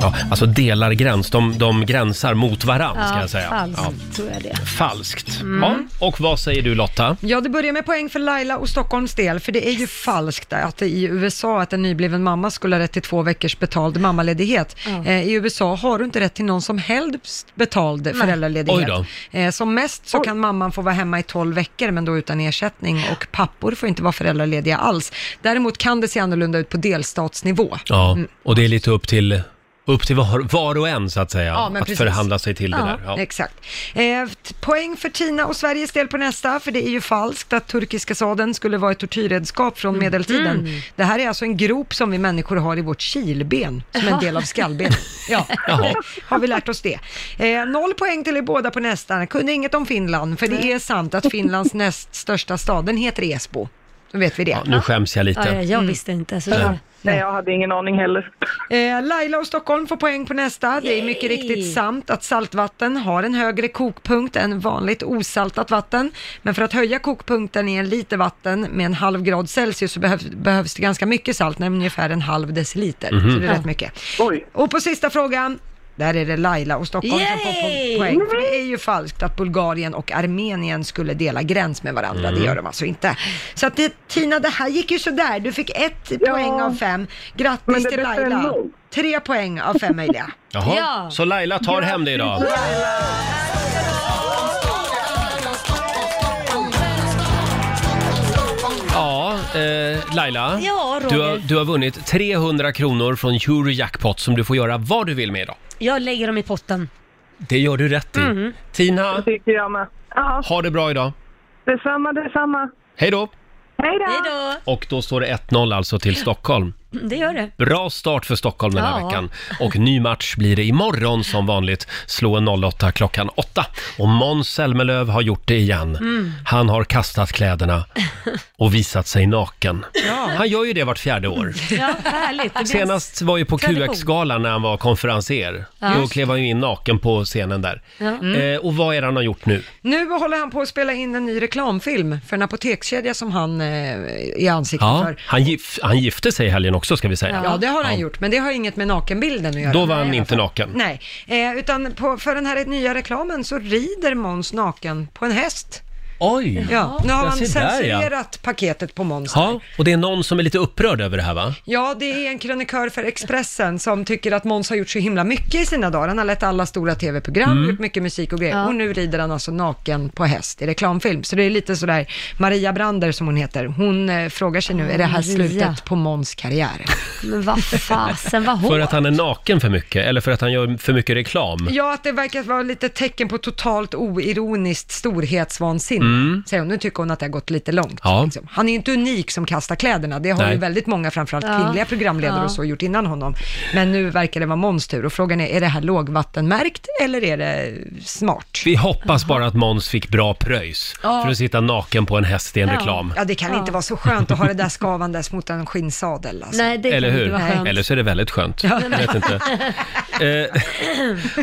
Ja, alltså delar gräns. De, de gränsar mot varann ska jag säga.
falskt
Ja.
tror jag det.
Falskt.
Mm.
Ja, och vad säger du Lotta?
Ja, det börjar med poäng för Laila och Stockholms del, för det är ju falskt att det i USA att en nybliven mamma skulle ha rätt till två veckors betald mammaledighet. Eh, I USA har du inte rätt till någon som helst betald föräldraledighet.
Oj
Eh, som mest så kan mamman få vara hemma i 12 veckor, men då utan ersättning, och pappor får inte vara föräldralediga alls. Däremot kan det se annorlunda ut på delstatsnivå.
Ja,
Mm.
och det är lite upp till, upp till var, var och en så att säga.
Ja, men
att
precis.
förhandla sig till det där. Ja.
Exakt. Eh, t- poäng för Tina och Sveriges del på nästa, för det är ju falskt att turkiska sadeln skulle vara ett tortyrredskap från medeltiden.
Mm.
Det här är alltså en grop som vi människor har i vårt kilben, som en del av skallbenet. Ja,
Jaha.
har vi lärt oss det. Eh, noll poäng till er båda på nästa. Kunde inget om Finland, för det är sant att Finlands näst största stad, den heter Esbo. Då vet vi det.
Nu skäms jag Mm. lite.
Mm.
visste
inte.
så- Nej.
Nej, jag hade ingen aning heller. Eh, Laila och Stockholm får poäng på nästa. Det är mycket riktigt sant att saltvatten har en högre kokpunkt än vanligt osaltat vatten. Men för att höja kokpunkten i en liter vatten med en halv grad Celsius så behövs, behövs det ganska mycket salt, nämligen ungefär en halv deciliter.
Mhm.
Så det är
Ja.
rätt mycket. Och på sista frågan, där är det Laila och Stockholm som får po-
Yay!
poäng. För det är ju falskt att Bulgarien och Armenien skulle dela gräns med varandra.
Mm.
Det gör de alltså inte. Så att det, Tina, det här gick ju sådär. Du fick ett poäng av fem.
Men
Grattis
det
till
är bättre än
Laila.
noll.
Tre poäng av fem möjliga.
Jaha, så Laila tar hem det idag. Ja, eh, Laila.
Ja, Roger.
du, har, du har vunnit 300 kronor från Eurojackpot som du får göra vad du vill med idag.
Jag lägger dem i potten.
Det gör du rätt i.
Mhm.
Tina,
Tycker jag med. Ja,
ha det bra idag.
detsamma, detsamma.
Hej då!
Hej då!
Och då står det 1-0 alltså till Stockholm.
Mm, Det gör det.
Bra start för Stockholm den här
Ja.
veckan. Och ny match blir det imorgon som vanligt. Slå en 08 klockan 8. Och Måns Zelmerlöw har gjort det igen.
Mm.
Han har kastat kläderna och visat sig naken. Han gör ju det vart fjärde år.
Ja, härligt. Det blir en
Senast var ju på
tradition.
QX-galan när han var konferenser.
Ja.
Då klev han ju in naken på scenen där.
Ja. Mm.
Eh, och vad är det han har gjort nu?
Nu håller han på att spela in en ny reklamfilm för en apotekskedja som han eh, är ansiktet
Ja,
för.
han, gif- han gifte sig i helgen också ska vi säga.
Ja, det har han
Ja.
gjort, men det har inget med nakenbilden att göra.
Då var han inte naken.
Nej, eh, utan på, för den här nya reklamen så rider Måns naken på en häst.
Oj!
Ja, nu har
Jag
man
ser där, ja.
censurerat paketet på Måns.
Ja, och det är någon som är lite upprörd över det här va?
Ja, det är en krönikör för Expressen som tycker att Måns har gjort så himla mycket i sina dagar. Han har lett alla stora tv-program,
Mm.
gjort mycket musik och grejer.
Ja.
Och nu rider han alltså naken på häst i reklamfilm. Så det är lite sådär, Maria Brander som hon heter, hon eh, frågar sig nu, är det här
Maria.
slutet på Måns karriär?
Men vad fasen, vad hårt.
För att han är naken för mycket, eller för att han gör för mycket reklam.
Ja, att det verkar vara lite tecken på totalt oironiskt storhetsvansinne.
Mm.
Säger hon. Nu tycker hon att det har gått lite långt.
Ja.
Liksom. Han är ju inte unik som kastar kläderna. Det har
Nej.
ju väldigt många, framförallt
Ja.
kvinnliga programledare
Ja.
och så, gjort innan honom. Men nu verkar det vara Måns tur och frågan är, är det här lågvattenmärkt eller är det smart?
Vi hoppas bara att Måns fick bra pröjs
Ja.
för att sitta naken på en häst i en reklam.
Ja, det kan inte vara så skönt att ha det där skavandes mot en skinnsadel. Alltså.
Nej,
Eller hur? Eller så är det väldigt skönt. Jag vet inte. Eh,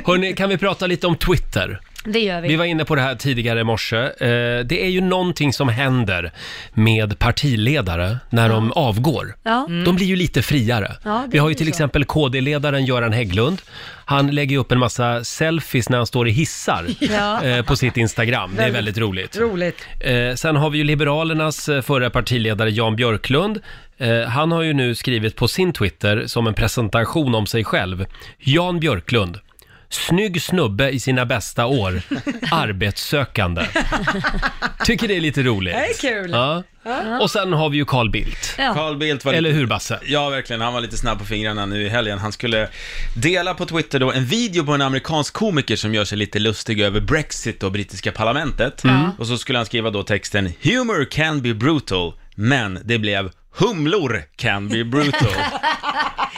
hörni, kan vi prata lite om Twitter?
Det gör vi.
Vi var inne på det här tidigare i morse. Eh, det är ju någonting som händer med partiledare när de avgår.
Ja.
Mm. De blir ju lite friare.
Ja, det
vi har ju
blir
till
så.
exempel KD-ledaren Göran Hägglund. Han lägger upp en massa selfies när han står i hissar
Ja.
eh, på sitt Instagram. Det är väldigt roligt.
Roligt.
Eh, sen har vi ju Liberalernas eh, förra partiledare Jan Björklund. Eh, han har ju nu skrivit på sin Twitter som en presentation om sig själv. Jan Björklund. Snygg snubbe i sina bästa år. Arbetssökande. Tycker det är lite roligt.
Det är kul.
Ja.
Ja.
Och sen har vi ju Carl Bildt.
Carl Bildt var
Eller
lite,
hur Basse?
Ja, verkligen. Han var lite snabb på fingrarna nu i helgen. Han skulle dela på Twitter då en video på en amerikansk komiker som gör sig lite lustig över Brexit och brittiska parlamentet.
Mm.
Och så skulle han skriva då texten “Humor can be brutal, men det blev humlor can be brutal”.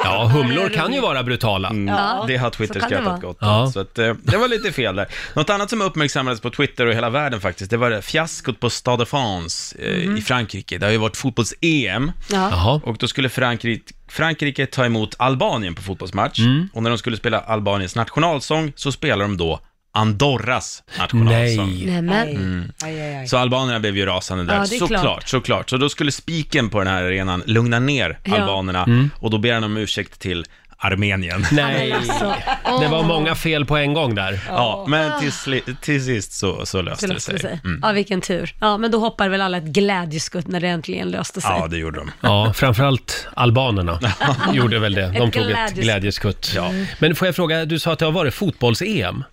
ja, humlor kan ju vara brutala.
Ja,
Mm. det har
så
Twitter
kan det vara.
skrattat gott åt. Så att, eh, det var lite fel där. Något annat som uppmärksammades på Twitter och hela världen faktiskt, det var det fiaskot på Stade de France eh,
Mhm.
i Frankrike. Det har ju varit fotbolls-EM.
Ja.
Och då skulle Frankrike, Frankrike ta
Mm.
emot Albanien på fotbollsmatch. Och när de skulle spela Albaniens nationalsång så spelar de då Andorras nationalsång.
alltså?
Nämen.
Mm.
Aj, aj, aj.
Så albanerna blev ju rasande där,
Ja, det är
såklart,
klart.
såklart. Så då skulle spiken på den här arenan lugna ner
Ja.
albanerna
Mm.
och då ber han om ursäkt till Armenien.
Nej. Ja, men alltså. Det var många fel på en gång där.
Ja, men till, sli- till sist så, så löste det sig. Mm.
Ja, vilken tur. Ja, men då hoppar väl alla ett glädjeskutt när det äntligen löste sig.
det gjorde de.
Ja, framförallt albanerna gjorde väl det. De
Ett
tog ett Mm.
glädjeskutt.
glädjeskutt. Men får jag fråga, du sa att det har varit fotbolls-EM?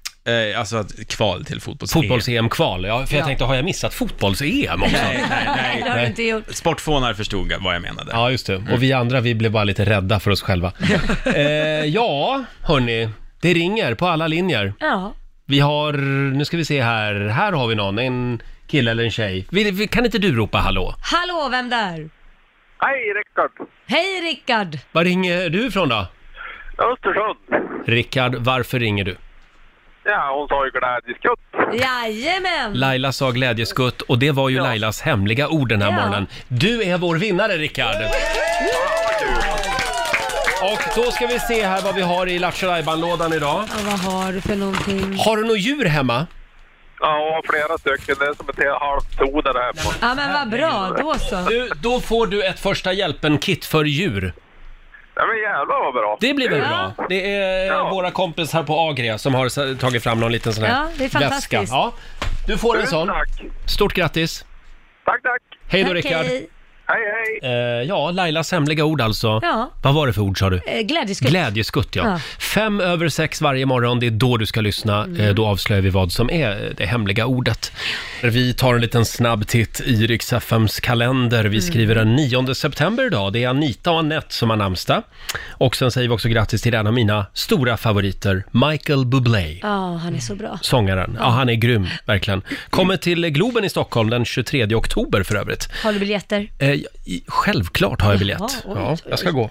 alltså att kval till fotbolls-EM.
Fotbolls-EM-kval, ja. För jag
Ja.
tänkte, har jag missat fotbolls-EM också?
Nej, nej, nej.
Det har du inte gjort.
Sportfånar förstod vad jag menade.
Ja, just det. Och vi andra, vi blev bara lite rädda för oss själva. eh, ja, hörni. Det ringer på alla linjer.
Ja.
Vi har, nu ska vi se här, här har vi någon, en kille eller en tjej. Vi, vi, kan inte du ropa hallå?
Hallå, vem där?
Hej Rickard!
Hej Rickard!
Var ringer du ifrån då?
Östersund.
Rickard, varför ringer du?
Ja, hon sa ju glädjeskutt.
Jajamän!
Laila sa glädjeskutt och det var ju Lailas hemliga ord den här
Ja.
morgonen. Du är vår vinnare Rickard! Och då ska vi se här vad vi har i Lattjo lådan idag.
Och vad har du för någonting?
Har du något djur hemma?
Ja, flera stycken. Det är som ett halvt zoo där hemma.
Ja, men vad bra. Då så.
Du, då får du ett första hjälpen-kit för djur.
Ja, men jävlar vad bra!
Det blir väl bra? Det är eh, våra kompisar på Agria som har sa- tagit fram någon liten sån här
Ja, det är fantastiskt. Mm,
väska. Ja, du får en
Tusen
sån. Stort grattis!
Tack, tack!
Hej då
Tack,
Rickard!
hej.
Hej, hej!
Eh, ja, Lailas hemliga ord alltså.
Ja.
Vad var det för ord sa du?
Eh, Glädjeskutt.
Glädjeskutt ja.
Ja.
Fem över sex varje morgon, det är då du ska lyssna.
Mm.
Eh, Då avslöjar vi vad som är eh, det hemliga ordet. Vi tar en liten snabb titt i Rix FMs kalender. Vi
Mm.
skriver den 9 september idag. Det är Anita och Anette som har namnsdag. Och sen säger vi också grattis till en av mina stora favoriter, Michael Bublé.
Ja, han är så bra.
Sångaren. Ja, han är grym, verkligen. Kommer till Globen i Stockholm den 23 oktober för övrigt.
Har du biljetter? Mm,
Eh, i- självklart har jag biljett.
Jaha, oj,
ja, jag ska gå.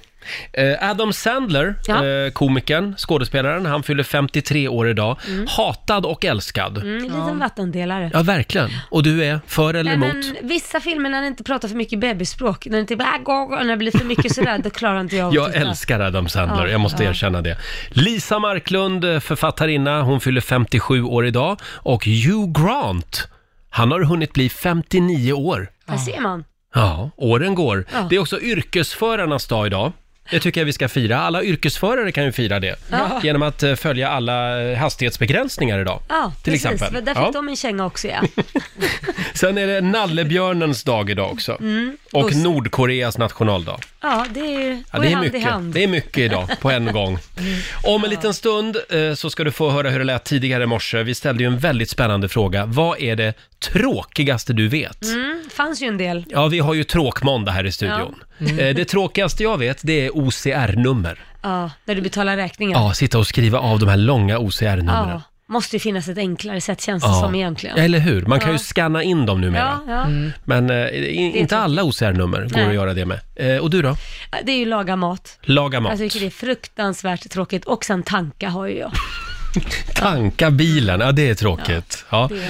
Eh, Adam Sandler,
Ja.
eh, komikern, skådespelaren, han fyller 53 år idag.
Mm.
Hatad och älskad.
Mm, en liten
ja.
vattendelare.
ja, verkligen. Och du är för eller
Nej,
emot?
men vissa filmer när han inte pratar för mycket bebisspråk, när det inte bara "Ah, gå, gå", när det blir för mycket sådär, då klarar inte jag av att
Jag
titta.
älskar Adam Sandler,
Ja,
jag måste
ja.
erkänna det. Lisa Marklund, eh, författarinna, hon fyller 57 år idag. Och Hugh Grant, han har hunnit bli 59 år.
Här ser man.
Ja, åren går.
Ja.
Det är också yrkesförarnas dag idag. Det tycker jag vi ska fira. Alla yrkesförare kan ju fira det
Ja.
genom att eh, följa alla eh, hastighetsbegränsningar idag.
Ja,
till
precis.
exempel.
Där fick
Ja.
de en känga också ja.
Sen är det nallebjörnens dag idag också.
Mm.
Och
Puss.
Nordkoreas nationaldag.
Ja, det är ju,
Ja,
går
det,
ju
är
hand i
mycket,
hand. Mm.
det är mycket idag på en gång. Om en liten stund eh, så ska du få höra hur det lät tidigare i morse. Vi ställde ju en väldigt spännande fråga. Vad är det tråkigaste du vet?
Mm, fanns ju en del.
Ja, vi har ju tråkmåndag här i studion.
Ja. Mm.
Eh, Det tråkigaste jag vet, det är OCR-nummer.
Ja, när du betalar räkningen.
Ja, sitta och skriva av de här långa OCR-numren.
Ja, måste ju finnas ett enklare sätt känns det
Ja.
som egentligen.
Eller hur? Man kan
Ja.
ju scanna in dem numera.
Ja, ja.
Men eh, i- inte alla OCR-nummer går
Nej.
att göra det med. Eh, Och du då?
Det är ju laga mat. Alltså,
Laga mat.
Jag tycker det är fruktansvärt tråkigt och sen tanka har ju jag.
Tanka bilen, ja det är tråkigt. Ja,
det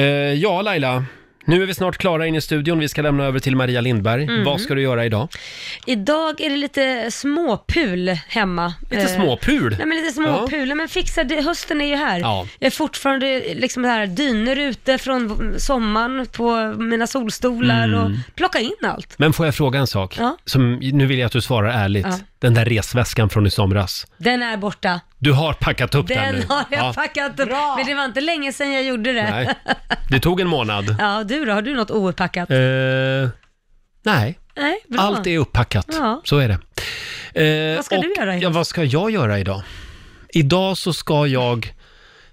är
Eh, ja Laila. Nu är vi snart klara in i studion. Vi ska lämna över till Maria Lindberg.
Mm.
Vad ska du göra idag?
Idag är det lite småpul hemma.
Lite
Eh,
småpul?
Nej men lite småpul, men fixa det, hösten är ju här.
Ja.
Jag är fortfarande liksom här dyner ute från sommaren på mina solstolar
Mm.
och plocka in allt.
Men får jag fråga en sak?
Ja.
Som, nu vill jag att du svarar ärligt.
Ja.
Den där resväskan från i somras.
Den är borta.
Du har packat upp den,
Den
nu.
har jag
Ja.
packat upp. Men det var inte länge sedan jag gjorde det.
Nej. Det tog en månad.
Ja, du då? Har du något ouppackat?
Eh, nej,
Nej, bra.
allt är upppackat.
Ja.
Så är det. Eh,
Vad ska du göra
Ja, vad ska jag göra idag? Idag så ska jag...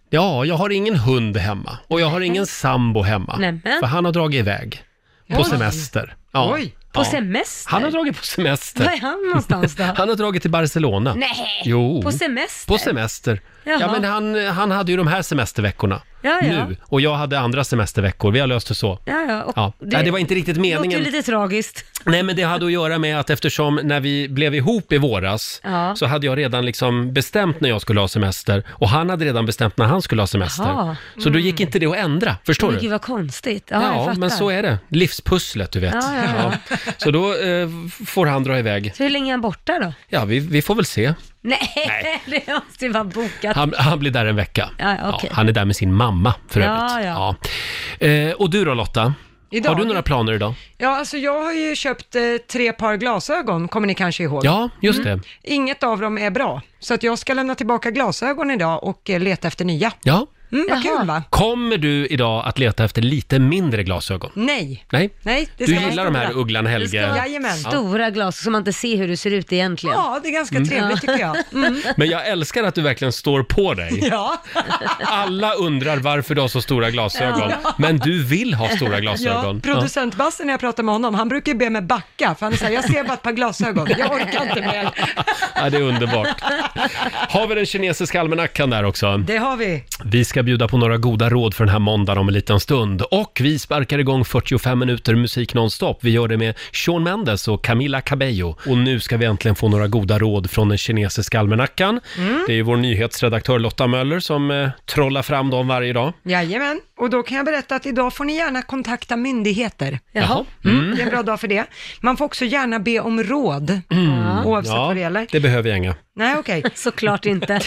Ja, jag har ingen hund hemma och jag har ingen sambo hemma.
Nämen.
För han har dragit iväg på
Oj.
semester.
Oj. På semester?
Han har dragit på semester.
Var är han någonstans då?
Han har dragit till Barcelona.
Nej.
Jo.
På semester?
På semester.
Jaha.
Ja, men han, han hade ju de här semesterveckorna
Ja, ja.
nu och jag hade andra semesterveckor. Vi har löst det så.
Ja, ja. Och
Ja. Nej, det var inte riktigt meningen.
låter ju lite tragiskt.
Nej, men det hade att göra med att eftersom när vi blev ihop i våras
Ja.
så hade jag redan liksom bestämt när jag skulle ha semester och han hade redan bestämt när han skulle ha semester.
Jaha. Mm.
Så då gick inte det att ändra, förstår
Men
du?
gud vad konstigt. Ja, jag
Ja,
fattar.
men så är det. Livspusslet, du vet.
Ja, ja, ja.
Så då eh, får han dra iväg.
Så hur länge är han borta då?
Ja, vi, vi får väl se.
Nej, det måste ju vara bokat.
Han, han blir där en vecka.
Ja, okej.
han är där med sin mamma för
Ja,
övrigt.
ja.
Ja. Eh, och du då Lotta?
Idag-
Har du några planer idag?
Ja, alltså jag har ju köpt eh, tre par glasögon, kommer ni kanske ihåg?
Ja, just det.
Inget av dem är bra, så att jag ska lämna tillbaka glasögon idag och eh, leta efter nya.
Ja.
Mm, vad kul va?
Kommer du idag att leta efter lite mindre glasögon?
Nej.
Nej?
Nej, det
Du
ska vara
gillar de här
stora.
Ugglan Helge...
Jajamän. Stora glas så man inte ser hur du ser ut egentligen.
Ja, det är ganska
Mm.
trevligt tycker jag. Mm.
Men jag älskar att du verkligen står på dig.
Ja.
Alla undrar varför du har så stora glasögon,
Ja.
men du vill ha stora glasögon.
Ja, producent Basse när jag pratar med honom, han brukar ju be mig backa, för han säger jag ser bara ett par glasögon, jag orkar inte mer.
Ja, det är underbart. Har vi den kinesiska almanackan där också?
Det har vi.
Vi ska bjuda på några goda råd för den här måndagen om en liten stund. Och vi sparkar igång 45 minuter musik nonstop. Vi gör det med Shawn Mendes och Camila Cabello. Och nu ska vi äntligen få några goda råd från den kinesiska almanackan.
Mm.
Det är ju vår nyhetsredaktör Lotta Möller som eh, trollar fram dem varje dag.
Jajamän, och då kan jag berätta att idag får ni gärna kontakta myndigheter.
Jaha.
Mm. Det är en bra dag för det. Man får också gärna be om råd,
Mm.
oavsett vad det gäller.
det behöver jag inga.
Nej, okej.
Såklart inte.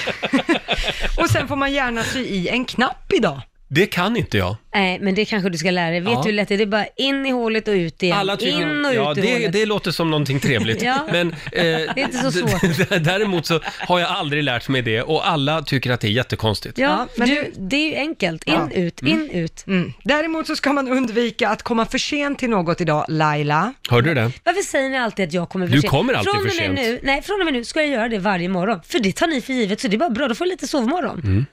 och sen får man gärna sy i en knapp idag.
Det kan inte jag.
Nej, men det kanske du ska lära dig. Vet
Ja.
du hur lätt det är? Det är bara in i hålet och ut igen.
Alla tycker-
in och ut
ja,
ur
det,
hålet.
det låter som någonting trevligt.
Ja.
Men, eh, det
är inte så
Däremot så har jag aldrig lärt mig det och alla tycker att det är jättekonstigt.
Ja, men du, det är ju enkelt. In, ut, in, ut.
Mm. Däremot så ska man undvika att komma för sent till något idag, Laila.
Hörde du det?
Varför säger ni alltid att jag kommer för
Du
sent?
kommer alltid
från och
för
med
sent.
Nu, nej, från och med nu ska jag göra det varje morgon. För det tar ni för givet, så det är bara bra. Då får jag lite sovmorgon. Mm.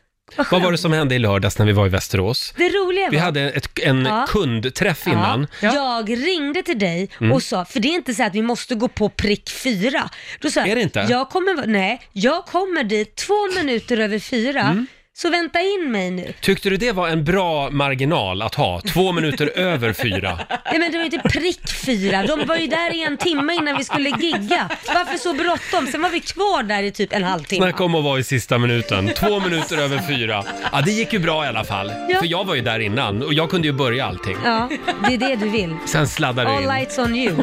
Vad var det som hände i lördags när vi var i Västerås?
Det roliga var...
Vi hade ett, en
Ja.
kundträff innan.
Ja. Jag ringde till dig
Mm.
och sa, för det är inte så att vi måste gå på prick fyra. Då sa jag,
Är det inte?
Jag kommer, nej, jag kommer dit två minuter över fyra,
Mm.
så vänta in mig nu.
Tyckte du det var en bra marginal att ha? Två minuter över fyra.
Nej men det var ju inte prick fyra, de var ju där i en timme innan vi skulle gigga. Varför så bråttom? Sen var vi kvar där i typ en halvtimme.
Snacka om att vara i sista minuten. Två minuter över fyra. Ja, det gick ju bra i alla fall.
Ja.
För jag var ju där innan och jag kunde ju börja allting.
Ja, det är det du vill.
Sen sladdade det
All
in.
lights on you.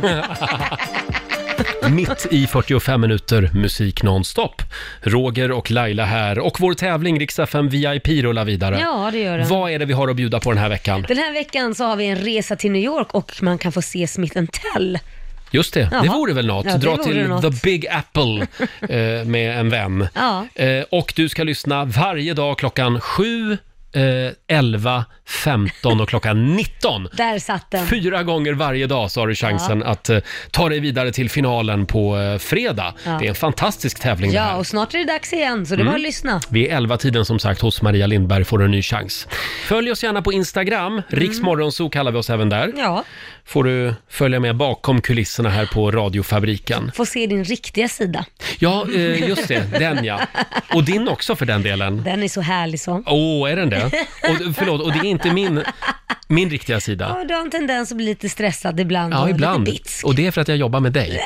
Mitt i 45 minuter musik nonstop. Roger och Laila här och vår tävling Rix FM VIP rullar vidare.
Ja, det gör den.
Vad är det vi har att bjuda på den här veckan?
Den här veckan så har vi en resa till New York och man kan få se Smith Tell.
Just det, det
Jaha.
vore väl något.
Ja, det
Dra
vore
till
något.
The Big Apple eh, med en vän.
Ja.
Eh, och du ska lyssna varje dag klockan 7, eh, 11, 15 och klockan 19.
Där satt den.
Fyra gånger varje dag så har du chansen att eh, ta dig vidare till finalen på eh, fredag.
Ja.
Det är en fantastisk tävling det
Ja,
här.
och snart är det dags igen, så det är
Mm.
bara att lyssna.
Vid elva-tiden som sagt hos Maria Lindberg får du en ny chans. Följ oss gärna på Instagram, riksmorgonso kallar vi oss även där.
Mm. Ja.
Får du följa med bakom kulisserna här på radiofabriken.
Få se din riktiga sida.
Ja, eh, just det. Den ja. Och din också för den delen.
Den är så härlig så.
Åh, är den det? Och, förlåt, och det är inte min, min riktiga sida.
Ja, du har en tendens att bli lite stressad ibland.
Ja,
och
ibland.
Lite bitsk.
Och det är för att jag jobbar med dig.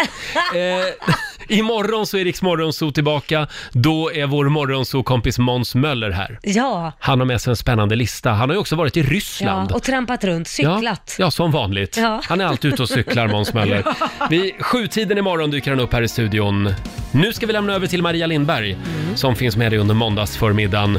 Eh, imorgon så är Riks Morgonzoo tillbaka. Då är vår Morgonzoo-kompis Måns Möller här.
Ja.
Han har med sig en spännande lista. Han har ju också varit i Ryssland.
ja, och trampat runt, cyklat.
Ja, ja, som vanligt.
Ja.
Han är alltid ute och cyklar, Måns Möller. Vid sjutiden imorgon dyker han upp här i
Mm.
studion. Nu ska vi lämna över till Maria Lindberg som finns med dig under måndagsförmiddagen.